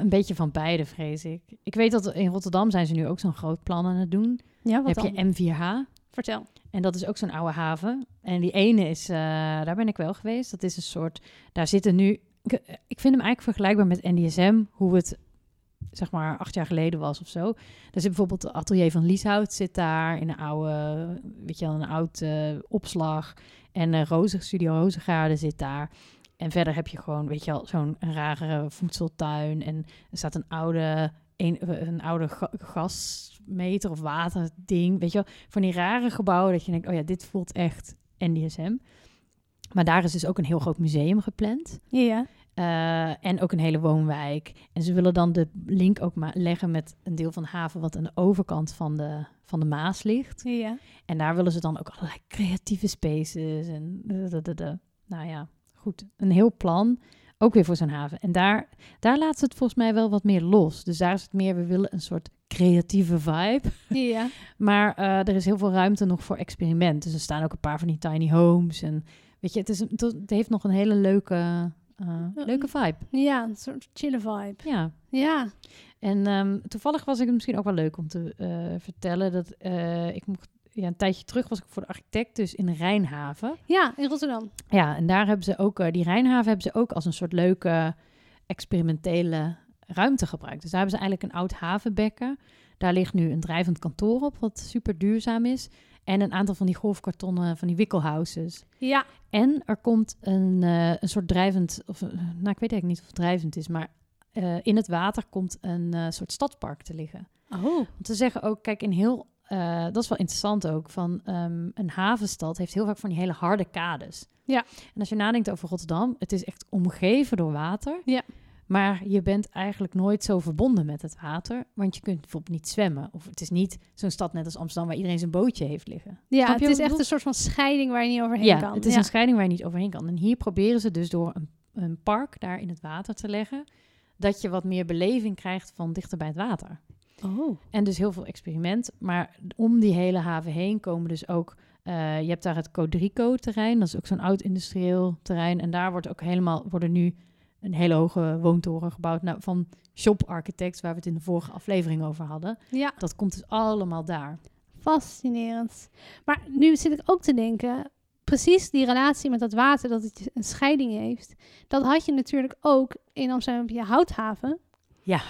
[SPEAKER 2] Een beetje van beide, vrees ik. Ik weet dat in Rotterdam zijn ze nu ook zo'n groot plan aan het doen.
[SPEAKER 3] Ja,
[SPEAKER 2] heb je M4H.
[SPEAKER 3] Vertel.
[SPEAKER 2] En dat is ook zo'n oude haven. En die ene is, eh, daar ben ik wel geweest. Dat is een soort, daar zitten nu, ik, ik vind hem eigenlijk vergelijkbaar met NDSM, hoe het zeg maar acht jaar geleden was of zo. Daar zit bijvoorbeeld het atelier van Lieshout zit daar in een oude, weet je wel, een oud eh, opslag. En eh Roze, Studio Rozengaarde zit daar. En verder heb je gewoon, weet je wel, zo'n rare voedseltuin. En er staat een oude, een, een oude ga- gasmeter of waterding, weet je wel van die rare gebouwen dat je denkt, oh ja, dit voelt echt NDSM. Maar daar is dus ook een heel groot museum gepland.
[SPEAKER 3] Ja, ja.
[SPEAKER 2] eh, en ook een hele woonwijk. En ze willen dan de link ook ma- leggen met een deel van de haven wat aan de overkant van de, van de Maas ligt.
[SPEAKER 3] ja, ja.
[SPEAKER 2] En daar willen ze dan ook allerlei creatieve spaces en dadadada. nou ja, goed. Een heel plan, ook weer voor zo'n haven. En daar, daar laat ze het volgens mij wel wat meer los. Dus daar is het meer, we willen een soort creatieve vibe.
[SPEAKER 3] ja, ja.
[SPEAKER 2] Maar eh, er is heel veel ruimte nog voor experiment. Dus er staan ook een paar van die tiny homes. En weet je, het, is een- het heeft nog een hele leuke, eh, leuke vibe.
[SPEAKER 3] Ja, een soort chille vibe.
[SPEAKER 2] Ja.
[SPEAKER 3] Ja.
[SPEAKER 2] En ehm, toevallig was ik het misschien ook wel leuk om te eh, vertellen dat eh, ik mocht. Ja, een tijdje terug was ik voor de architect dus in Rijnhaven.
[SPEAKER 3] Ja, in Rotterdam.
[SPEAKER 2] Ja, en daar hebben ze ook, eh, die Rijnhaven hebben ze ook als een soort leuke experimentele ruimte gebruikt. Dus daar hebben ze eigenlijk een oud havenbekken. Daar ligt nu een drijvend kantoor op, wat super duurzaam is. En een aantal van die golfkartonnen, van die wikkelhouses.
[SPEAKER 3] Ja.
[SPEAKER 2] En er komt een, eh, een soort drijvend, of eh, nou ik weet eigenlijk niet of het drijvend is, maar eh, in het water komt een eh, soort stadspark te liggen.
[SPEAKER 3] Oh.
[SPEAKER 2] Want ze zeggen ook, kijk, in heel, eh, dat is wel interessant ook, van ehm, een havenstad heeft heel vaak van die hele harde kades.
[SPEAKER 3] Ja.
[SPEAKER 2] En als je nadenkt over Rotterdam, het is echt omgeven door water.
[SPEAKER 3] Ja.
[SPEAKER 2] Maar je bent eigenlijk nooit zo verbonden met het water, want je kunt bijvoorbeeld niet zwemmen. Of het is niet zo'n stad net als Amsterdam waar iedereen zijn bootje heeft liggen.
[SPEAKER 3] Ja,
[SPEAKER 2] Snap je
[SPEAKER 3] het
[SPEAKER 2] wat
[SPEAKER 3] is
[SPEAKER 2] ik
[SPEAKER 3] echt
[SPEAKER 2] bedoel?
[SPEAKER 3] een soort van scheiding waar je niet overheen
[SPEAKER 2] ja,
[SPEAKER 3] kan.
[SPEAKER 2] het is
[SPEAKER 3] ja.
[SPEAKER 2] een scheiding waar je niet overheen kan. En hier proberen ze dus door een, een park daar in het water te leggen, dat je wat meer beleving krijgt van dichter bij het water.
[SPEAKER 3] Oh.
[SPEAKER 2] En dus heel veel experiment. Maar om die hele haven heen komen dus ook... eh, je hebt daar het Codrico-terrein. Dat is ook zo'n oud industrieel terrein. En daar wordt ook helemaal, worden nu een hele hoge woontoren gebouwd. Nou, van Shop Architects, waar we het in de vorige aflevering over hadden.
[SPEAKER 3] Ja,
[SPEAKER 2] Dat komt dus allemaal daar.
[SPEAKER 3] fascinerend. Maar nu zit ik ook te denken, precies die relatie met dat water, dat het een scheiding heeft, dat had je natuurlijk ook in Amsterdam op je houthaven.
[SPEAKER 2] Ja.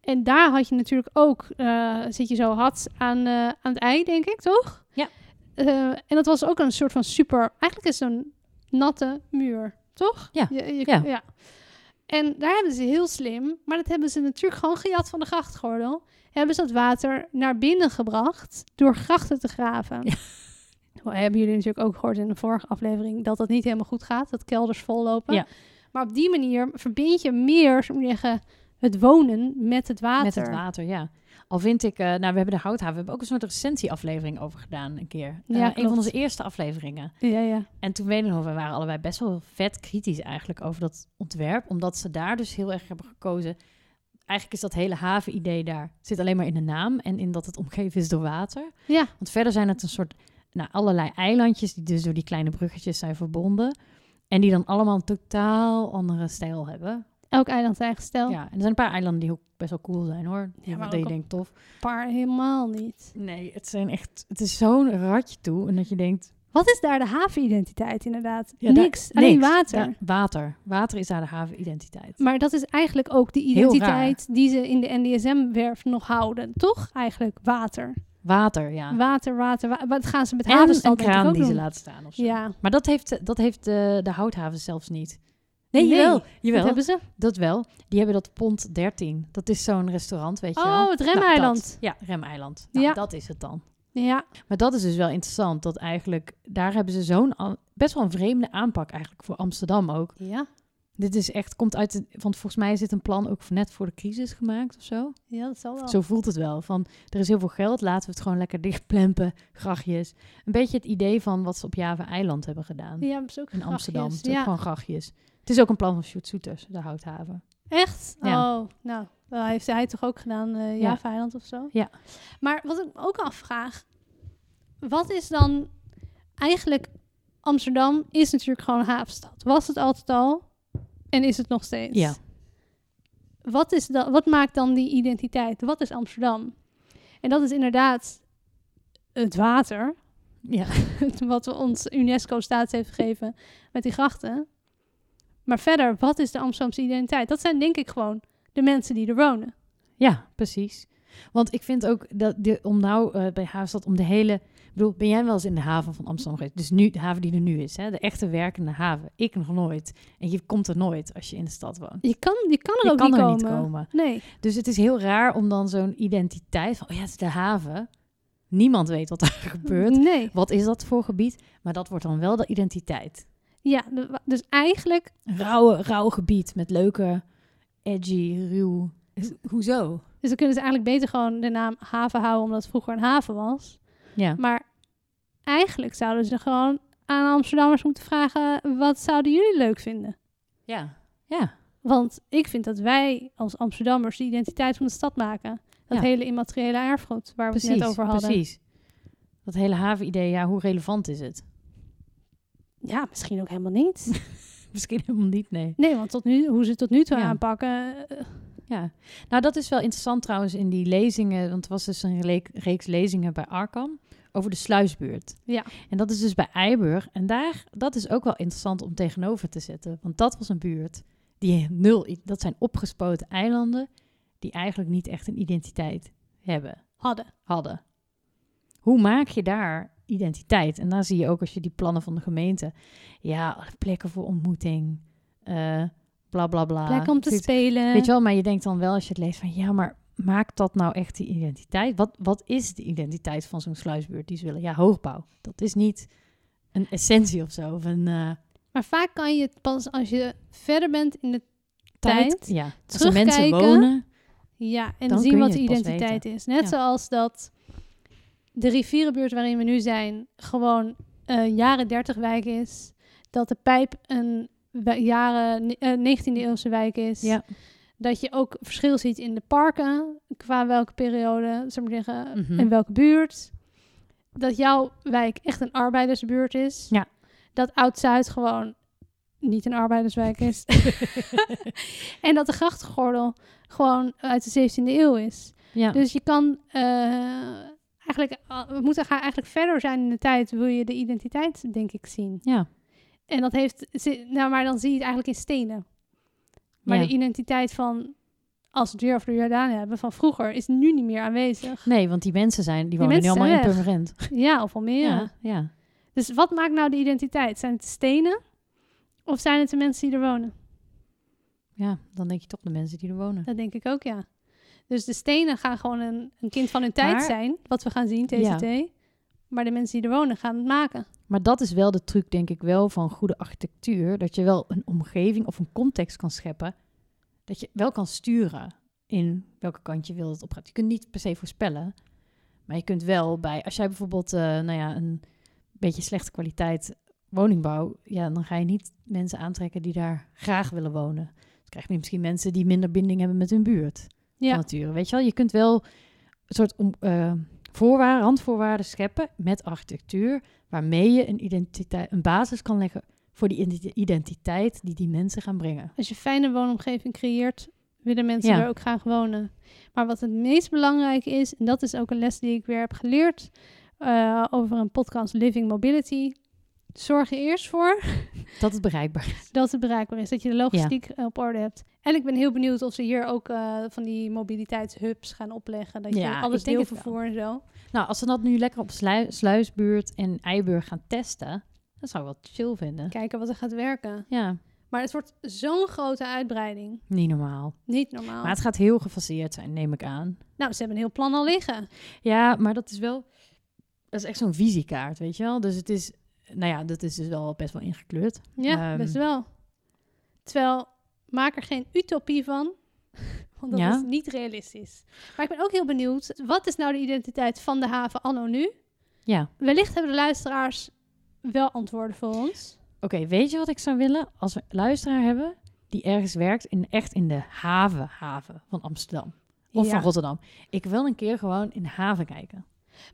[SPEAKER 3] En daar had je natuurlijk ook, eh, zit je zo hard aan, eh, aan het ei, denk ik, toch?
[SPEAKER 2] Ja.
[SPEAKER 3] Eh, en dat was ook een soort van super, eigenlijk is het een natte muur, toch?
[SPEAKER 2] Ja,
[SPEAKER 3] Je- je-
[SPEAKER 2] ja.
[SPEAKER 3] En daar hebben ze heel slim, maar dat hebben ze natuurlijk gewoon gejat van de grachtgordel. Hebben ze dat water naar binnen gebracht door grachten te graven.
[SPEAKER 2] Ja.
[SPEAKER 3] Nou, hebben jullie natuurlijk ook gehoord in de vorige aflevering dat dat niet helemaal goed gaat, dat kelders vollopen.
[SPEAKER 2] Ja.
[SPEAKER 3] Maar op die manier verbind je meer, zo moet je zeggen, het wonen met het water.
[SPEAKER 2] Met het water, ja. Al vind ik, eh, nou, we hebben de houthaven, we hebben ook een soort recensieaflevering over gedaan een keer. Eh,
[SPEAKER 3] Ja,
[SPEAKER 2] een van
[SPEAKER 3] klopt.
[SPEAKER 2] onze eerste afleveringen.
[SPEAKER 3] Ja, ja.
[SPEAKER 2] En toen weet ik nog, we waren allebei best wel vet kritisch eigenlijk over dat ontwerp. Omdat ze daar dus heel erg hebben gekozen. Eigenlijk is dat hele havenidee daar, zit alleen maar in de naam en in dat het omgeven is door water.
[SPEAKER 3] Ja.
[SPEAKER 2] Want verder zijn het een soort, nou, allerlei eilandjes die dus door die kleine bruggetjes zijn verbonden. En die dan allemaal een totaal andere stijl hebben.
[SPEAKER 3] Elk eiland zijn eigen stijl.
[SPEAKER 2] Ja, en er zijn een paar eilanden die ook best wel cool zijn hoor. Ja,
[SPEAKER 3] maar
[SPEAKER 2] dat je
[SPEAKER 3] ook-
[SPEAKER 2] denkt tof.
[SPEAKER 3] Paar helemaal niet.
[SPEAKER 2] Nee, het, zijn echt, het is zo'n ratje toe. En dat je denkt,
[SPEAKER 3] Wat is daar de havenidentiteit inderdaad?
[SPEAKER 2] Ja, daar-
[SPEAKER 3] niks, alleen
[SPEAKER 2] niks.
[SPEAKER 3] water.
[SPEAKER 2] Ja, water. Water is daar de havenidentiteit.
[SPEAKER 3] Maar dat is eigenlijk ook de
[SPEAKER 2] Heel
[SPEAKER 3] identiteit die ze in de NDSM-werf nog houden. Toch eigenlijk water.
[SPEAKER 2] Water, ja.
[SPEAKER 3] Water, water, wa- Wat gaan ze met
[SPEAKER 2] en een
[SPEAKER 3] havenstand denk ik
[SPEAKER 2] kraan
[SPEAKER 3] ook
[SPEAKER 2] die ze
[SPEAKER 3] doen.
[SPEAKER 2] laat staan of zo.
[SPEAKER 3] Ja,
[SPEAKER 2] Maar dat heeft, dat heeft eh, de, de houthaven zelfs niet. Nee,
[SPEAKER 3] Nee, Oh,
[SPEAKER 2] jawel.
[SPEAKER 3] dat
[SPEAKER 2] jawel dat,
[SPEAKER 3] hebben ze.
[SPEAKER 2] wel. Die hebben dat Pond 13. Dat is zo'n restaurant, weet je wel.
[SPEAKER 3] Oh, het
[SPEAKER 2] Nou, dat.
[SPEAKER 3] remeiland.
[SPEAKER 2] ja, Remeiland. Nou,
[SPEAKER 3] Ja.
[SPEAKER 2] Dat is het dan.
[SPEAKER 3] ja,
[SPEAKER 2] Maar dat is dus wel interessant. Dat eigenlijk, daar hebben ze zo'n an- best wel een vreemde aanpak eigenlijk voor Amsterdam ook.
[SPEAKER 3] ja,
[SPEAKER 2] Dit is echt, komt uit, de- want volgens mij is dit een plan ook voor- net voor de crisis gemaakt of zo.
[SPEAKER 3] ja, dat zal wel.
[SPEAKER 2] Zo voelt het wel. Van, er is heel veel geld, laten we het gewoon lekker dichtplempen, grachtjes. Een beetje het idee van wat ze op Java-eiland hebben gedaan.
[SPEAKER 3] Ja, dat is ook
[SPEAKER 2] in Amsterdam, het is
[SPEAKER 3] grappig,
[SPEAKER 2] ook
[SPEAKER 3] Ja.
[SPEAKER 2] gewoon grachtjes. Het is ook een plan van Sjoerd Soeters, de Houthaven.
[SPEAKER 3] Echt?
[SPEAKER 2] Ja.
[SPEAKER 3] Oh, nou, dat heeft hij toch ook gedaan, eh
[SPEAKER 2] Ja.
[SPEAKER 3] Java-eiland of zo?
[SPEAKER 2] Ja.
[SPEAKER 3] Maar wat ik me ook afvraag, wat is dan eigenlijk... Amsterdam is natuurlijk gewoon een havenstad. Was het altijd al en is het nog steeds.
[SPEAKER 2] Ja.
[SPEAKER 3] Wat, is dan, wat maakt dan die identiteit? Wat is Amsterdam? En dat is inderdaad het water,
[SPEAKER 2] Ja.
[SPEAKER 3] wat we ons UNESCO-staats heeft gegeven met die grachten. Maar verder, wat is de Amsterdamse identiteit? Dat zijn denk ik gewoon de mensen die er wonen.
[SPEAKER 2] ja, precies. Want ik vind ook, dat de, om nou eh, bij Havenstad, om de hele... Ik bedoel, ben jij wel eens in de haven van Amsterdam geweest? Dus nu, de haven die er nu is, hè? de echte werkende haven. Ik nog nooit. En je komt er nooit als je in de stad woont.
[SPEAKER 3] Je kan, je kan er
[SPEAKER 2] Je
[SPEAKER 3] ook
[SPEAKER 2] kan
[SPEAKER 3] niet,
[SPEAKER 2] er
[SPEAKER 3] komen.
[SPEAKER 2] niet komen.
[SPEAKER 3] Nee,
[SPEAKER 2] Dus het is heel raar om dan zo'n identiteit van, oh ja, het is de haven. Niemand weet wat daar gebeurt.
[SPEAKER 3] nee.
[SPEAKER 2] Wat is dat voor gebied? Maar dat wordt dan wel de identiteit.
[SPEAKER 3] Ja, de- dus eigenlijk,
[SPEAKER 2] Een Rauwe, rauw gebied met leuke, edgy, ruw. Is- Hoezo?
[SPEAKER 3] dus dan kunnen ze eigenlijk beter gewoon de naam haven houden, omdat het vroeger een haven was.
[SPEAKER 2] Ja.
[SPEAKER 3] Maar eigenlijk zouden ze gewoon aan Amsterdammers moeten vragen: wat zouden jullie leuk vinden?
[SPEAKER 2] Ja. Ja.
[SPEAKER 3] Want ik vind dat wij als Amsterdammers de identiteit van de stad maken. Dat
[SPEAKER 2] Ja.
[SPEAKER 3] hele immateriële erfgoed waar we het net over hadden.
[SPEAKER 2] precies. Dat hele havenidee, ja, hoe relevant is het?
[SPEAKER 3] Ja, misschien ook helemaal niet.
[SPEAKER 2] Misschien helemaal niet, nee.
[SPEAKER 3] Nee, want tot nu, hoe ze het tot nu toe
[SPEAKER 2] Ja.
[SPEAKER 3] aanpakken. eh,
[SPEAKER 2] Ja. Nou, dat is wel interessant trouwens in die lezingen. Want er was dus een le- reeks lezingen bij Arkham over de sluisbuurt.
[SPEAKER 3] Ja.
[SPEAKER 2] En dat is dus bij Eiburg. En daar, dat is ook wel interessant om tegenover te zetten. Want dat was een buurt die nul... i- Dat zijn opgespoten eilanden die eigenlijk niet echt een identiteit hebben,
[SPEAKER 3] hadden.
[SPEAKER 2] hadden. Hoe maak je daar identiteit? En daar zie je ook als je die plannen van de gemeente... Ja, plekken voor ontmoeting, eh bla bla bla.
[SPEAKER 3] Plek om te
[SPEAKER 2] Zoiets.
[SPEAKER 3] spelen.
[SPEAKER 2] Weet je wel, maar je denkt dan wel als je het leest van ja, maar maakt dat nou echt die identiteit? Wat, wat is de identiteit van zo'n sluisbuurt die ze willen? Ja, hoogbouw. Dat is niet een essentie of zo. Of een eh,
[SPEAKER 3] Maar vaak kan je het pas als je verder bent in de.
[SPEAKER 2] tijd.
[SPEAKER 3] Tijd.
[SPEAKER 2] Ja, als er mensen
[SPEAKER 3] Terugkijken.
[SPEAKER 2] wonen.
[SPEAKER 3] Ja, en
[SPEAKER 2] Dan
[SPEAKER 3] zien
[SPEAKER 2] kun
[SPEAKER 3] wat
[SPEAKER 2] je
[SPEAKER 3] de
[SPEAKER 2] het pas
[SPEAKER 3] identiteit is. Net
[SPEAKER 2] Ja.
[SPEAKER 3] zoals dat de rivierenbuurt waarin we nu zijn gewoon eh jaren 30 wijk is. Dat de pijp een wi- jaren eh, 19e eeuwse wijk is.
[SPEAKER 2] Ja.
[SPEAKER 3] dat je ook verschil ziet in de parken, qua welke periode, zeg maar zeggen,
[SPEAKER 2] Mhm.
[SPEAKER 3] en welke buurt. Dat jouw wijk echt een arbeidersbuurt is.
[SPEAKER 2] Ja.
[SPEAKER 3] Dat Oud-Zuid gewoon niet een arbeiderswijk is. en dat de grachtgordel gewoon uit de 17e eeuw is.
[SPEAKER 2] ja.
[SPEAKER 3] Dus je kan eh, eigenlijk, al- we moeten gaan eigenlijk verder zijn in de tijd, wil je de identiteit, denk ik, zien.
[SPEAKER 2] ja.
[SPEAKER 3] En dat heeft, zi- nou maar dan zie je het eigenlijk in stenen. Maar
[SPEAKER 2] Ja.
[SPEAKER 3] de identiteit van, als we het weer over de Jordaan hebben, van vroeger, is nu niet meer aanwezig.
[SPEAKER 2] Nee, want die mensen zijn, die
[SPEAKER 3] Die
[SPEAKER 2] wonen nu
[SPEAKER 3] mensen
[SPEAKER 2] allemaal in
[SPEAKER 3] zijn weg.
[SPEAKER 2] permanent.
[SPEAKER 3] Ja, of al meer.
[SPEAKER 2] ja.
[SPEAKER 3] Dus wat maakt nou de identiteit? Zijn het stenen? Of zijn het de mensen die er wonen?
[SPEAKER 2] Ja, dan denk je toch de mensen die er wonen.
[SPEAKER 3] Dat denk ik ook, ja. Dus de stenen gaan gewoon een, een kind van hun tijd
[SPEAKER 2] Maar-
[SPEAKER 3] zijn, wat we gaan zien, TCT. Maar de mensen die er wonen gaan het maken.
[SPEAKER 2] Maar dat is wel de truc, denk ik wel, van goede architectuur. Dat je wel een omgeving of een context kan scheppen. Dat je wel kan sturen in welke kant je wil dat het op gaat. Je kunt niet per se voorspellen. Maar je kunt wel bij, als jij bijvoorbeeld eh, nou ja, een beetje slechte kwaliteit woningbouw. Ja, dan ga je niet mensen aantrekken die daar graag willen wonen. Dan krijg je misschien mensen die minder binding hebben met hun buurt.
[SPEAKER 3] Ja,
[SPEAKER 2] van nature. Weet je wel, je kunt wel een soort om, eh, voorwaarden, randvoorwaarden scheppen met architectuur, waarmee je een, identiteit, een basis kan leggen voor die identi- identiteit die die mensen gaan brengen.
[SPEAKER 3] als je een fijne woonomgeving creëert, willen mensen
[SPEAKER 2] Ja.
[SPEAKER 3] er ook graag wonen. Maar wat het meest belangrijk is, en dat is ook een les die ik weer heb geleerd eh, over een podcast Living Mobility. Zorg er eerst voor
[SPEAKER 2] Dat is bereikbaar. is.
[SPEAKER 3] dat het bereikbaar is, dat je de logistiek eh, op orde hebt. En ik ben heel benieuwd of ze hier ook eh, van die mobiliteitshubs gaan opleggen. Dat je
[SPEAKER 2] Ja,
[SPEAKER 3] alles
[SPEAKER 2] ik denk het
[SPEAKER 3] deelvervoer en zo.
[SPEAKER 2] Nou, als ze dat nu lekker op Slui- Sluisbuurt en Eiburg gaan testen, dat zou ik wel chill vinden.
[SPEAKER 3] Kijken wat er gaat werken.
[SPEAKER 2] Ja,
[SPEAKER 3] Maar het wordt zo'n grote uitbreiding.
[SPEAKER 2] niet normaal.
[SPEAKER 3] Niet normaal.
[SPEAKER 2] Maar het gaat heel gefaseerd zijn, neem ik aan.
[SPEAKER 3] Nou, ze hebben een heel plan al liggen.
[SPEAKER 2] Ja, maar dat is wel. Dat is echt zo'n visiekaart, weet je wel? Dus het is. Nou ja, dat is dus wel best wel ingekleurd.
[SPEAKER 3] Ja,
[SPEAKER 2] Ehm.
[SPEAKER 3] best wel. Terwijl, maak er geen utopie van. Want dat
[SPEAKER 2] Ja.
[SPEAKER 3] is niet realistisch. Maar ik ben ook heel benieuwd. Wat is nou de identiteit van de haven anno nu?
[SPEAKER 2] Ja.
[SPEAKER 3] Wellicht hebben de luisteraars wel antwoorden voor ons.
[SPEAKER 2] Oké, weet je wat ik zou willen? Als we een luisteraar hebben die ergens werkt, in, echt in de haven, haven van Amsterdam of
[SPEAKER 3] Ja.
[SPEAKER 2] van Rotterdam. Ik wil een keer gewoon in de haven kijken.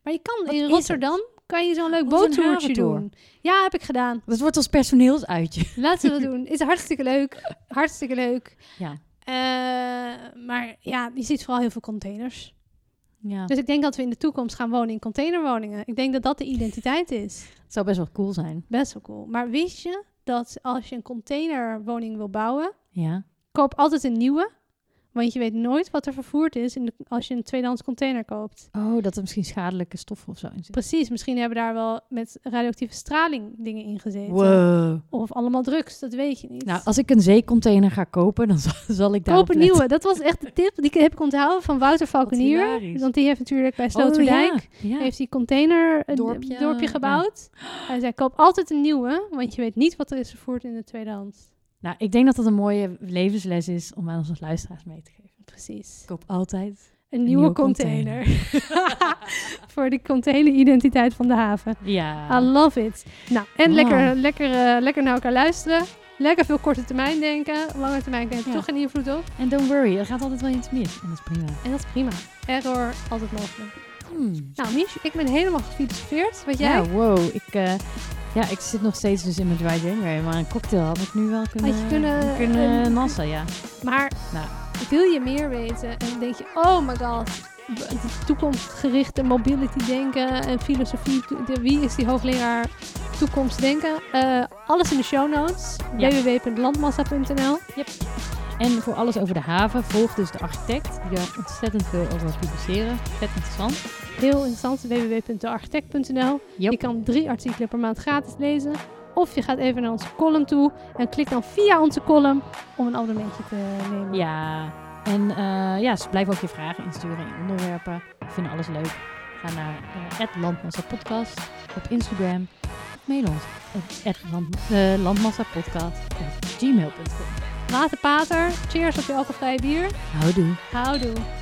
[SPEAKER 3] Maar je kan
[SPEAKER 2] Wat
[SPEAKER 3] in
[SPEAKER 2] is
[SPEAKER 3] Rotterdam kan je zo'n leuk
[SPEAKER 2] Of een
[SPEAKER 3] boottoertje
[SPEAKER 2] haventour.
[SPEAKER 3] doen. Ja, heb ik gedaan.
[SPEAKER 2] Dat wordt als personeelsuitje.
[SPEAKER 3] Laten we dat doen. Is hartstikke leuk. Hartstikke leuk.
[SPEAKER 2] Ja.
[SPEAKER 3] Eh, maar ja, je ziet vooral heel veel containers.
[SPEAKER 2] Ja,
[SPEAKER 3] Dus ik denk dat we in de toekomst gaan wonen in containerwoningen. Ik denk dat dat de identiteit is.
[SPEAKER 2] het zou best wel cool zijn.
[SPEAKER 3] Best wel cool. Maar wist je dat als je een containerwoning wil bouwen,
[SPEAKER 2] Ja.
[SPEAKER 3] koop altijd een nieuwe. Want je weet nooit wat er vervoerd is in de- als je een tweedehands container koopt.
[SPEAKER 2] Oh, dat er misschien schadelijke stoffen of zo in zitten.
[SPEAKER 3] Precies, misschien hebben daar wel met radioactieve straling dingen in gezeten.
[SPEAKER 2] Wow.
[SPEAKER 3] Of allemaal drugs, dat weet je niet.
[SPEAKER 2] Nou, als ik een zeecontainer ga kopen, dan zal, zal ik daar
[SPEAKER 3] Koop een nieuwe. Dat was echt de tip. Die heb ik onthouden van Wouter Valkenier.
[SPEAKER 2] hilarisch.
[SPEAKER 3] Want die heeft natuurlijk bij Sloterdijk...
[SPEAKER 2] Oh, ja.
[SPEAKER 3] heeft die container een dorpje,
[SPEAKER 2] Dorpje, ja.
[SPEAKER 3] gebouwd. Hij zei, koop altijd een nieuwe, want je weet niet wat er is vervoerd in de tweedehands.
[SPEAKER 2] Nou, ik denk dat dat een mooie levensles is om aan onze luisteraars mee te geven.
[SPEAKER 3] Precies.
[SPEAKER 2] Ik koop altijd.
[SPEAKER 3] Een, nieuwe,
[SPEAKER 2] nieuwe
[SPEAKER 3] container. Voor de container identiteit van de haven.
[SPEAKER 2] Ja.
[SPEAKER 3] I love it. Ah. Nou, en
[SPEAKER 2] Wow.
[SPEAKER 3] lekker, lekker, eh, lekker naar elkaar luisteren. Lekker veel korte termijn denken. Lange termijn denken
[SPEAKER 2] Ja.
[SPEAKER 3] toch geen invloed op.
[SPEAKER 2] En don't worry, er gaat altijd wel iets mis. En dat is prima.
[SPEAKER 3] En dat is prima. Error, altijd mogelijk.
[SPEAKER 2] Hmm.
[SPEAKER 3] Nou, Mich, ik ben helemaal gefilosofeerd. Wat jij?
[SPEAKER 2] Ja, wow. Ik, eh, ja, ik zit nog steeds dus in mijn dry January, maar een cocktail had ik nu wel kunnen,
[SPEAKER 3] Had je kunnen-
[SPEAKER 2] kunnen
[SPEAKER 3] een-
[SPEAKER 2] nassen, ja.
[SPEAKER 3] Maar
[SPEAKER 2] Nou.
[SPEAKER 3] wil je meer weten en dan denk je, oh my god, de toekomstgerichte mobility denken en filosofie, to- de- wie is die hoogleraar toekomstdenken? Eh, alles in de show notes,
[SPEAKER 2] Ja.
[SPEAKER 3] www.landmassa.nl.
[SPEAKER 2] En voor alles over de haven, volg dus de architect, die daar ontzettend veel over publiceren. Vet interessant.
[SPEAKER 3] Heel interessant, www.dearchitect.nl.
[SPEAKER 2] Yep.
[SPEAKER 3] Je kan drie artikelen per maand gratis lezen. Of je gaat even naar onze column toe en klik dan via onze column om een abonnementje te nemen.
[SPEAKER 2] Ja. En eh, ja, dus blijf ook je vragen insturen en je onderwerpen. We vinden alles leuk. Ga naar eh Landmassa Podcast op Instagram. Of mail ons op @land, eh, landmassapodcast@gmail.com.
[SPEAKER 3] Waterpater, cheers op je alcoholvrije bier.
[SPEAKER 2] Houdoe.
[SPEAKER 3] Houdoe.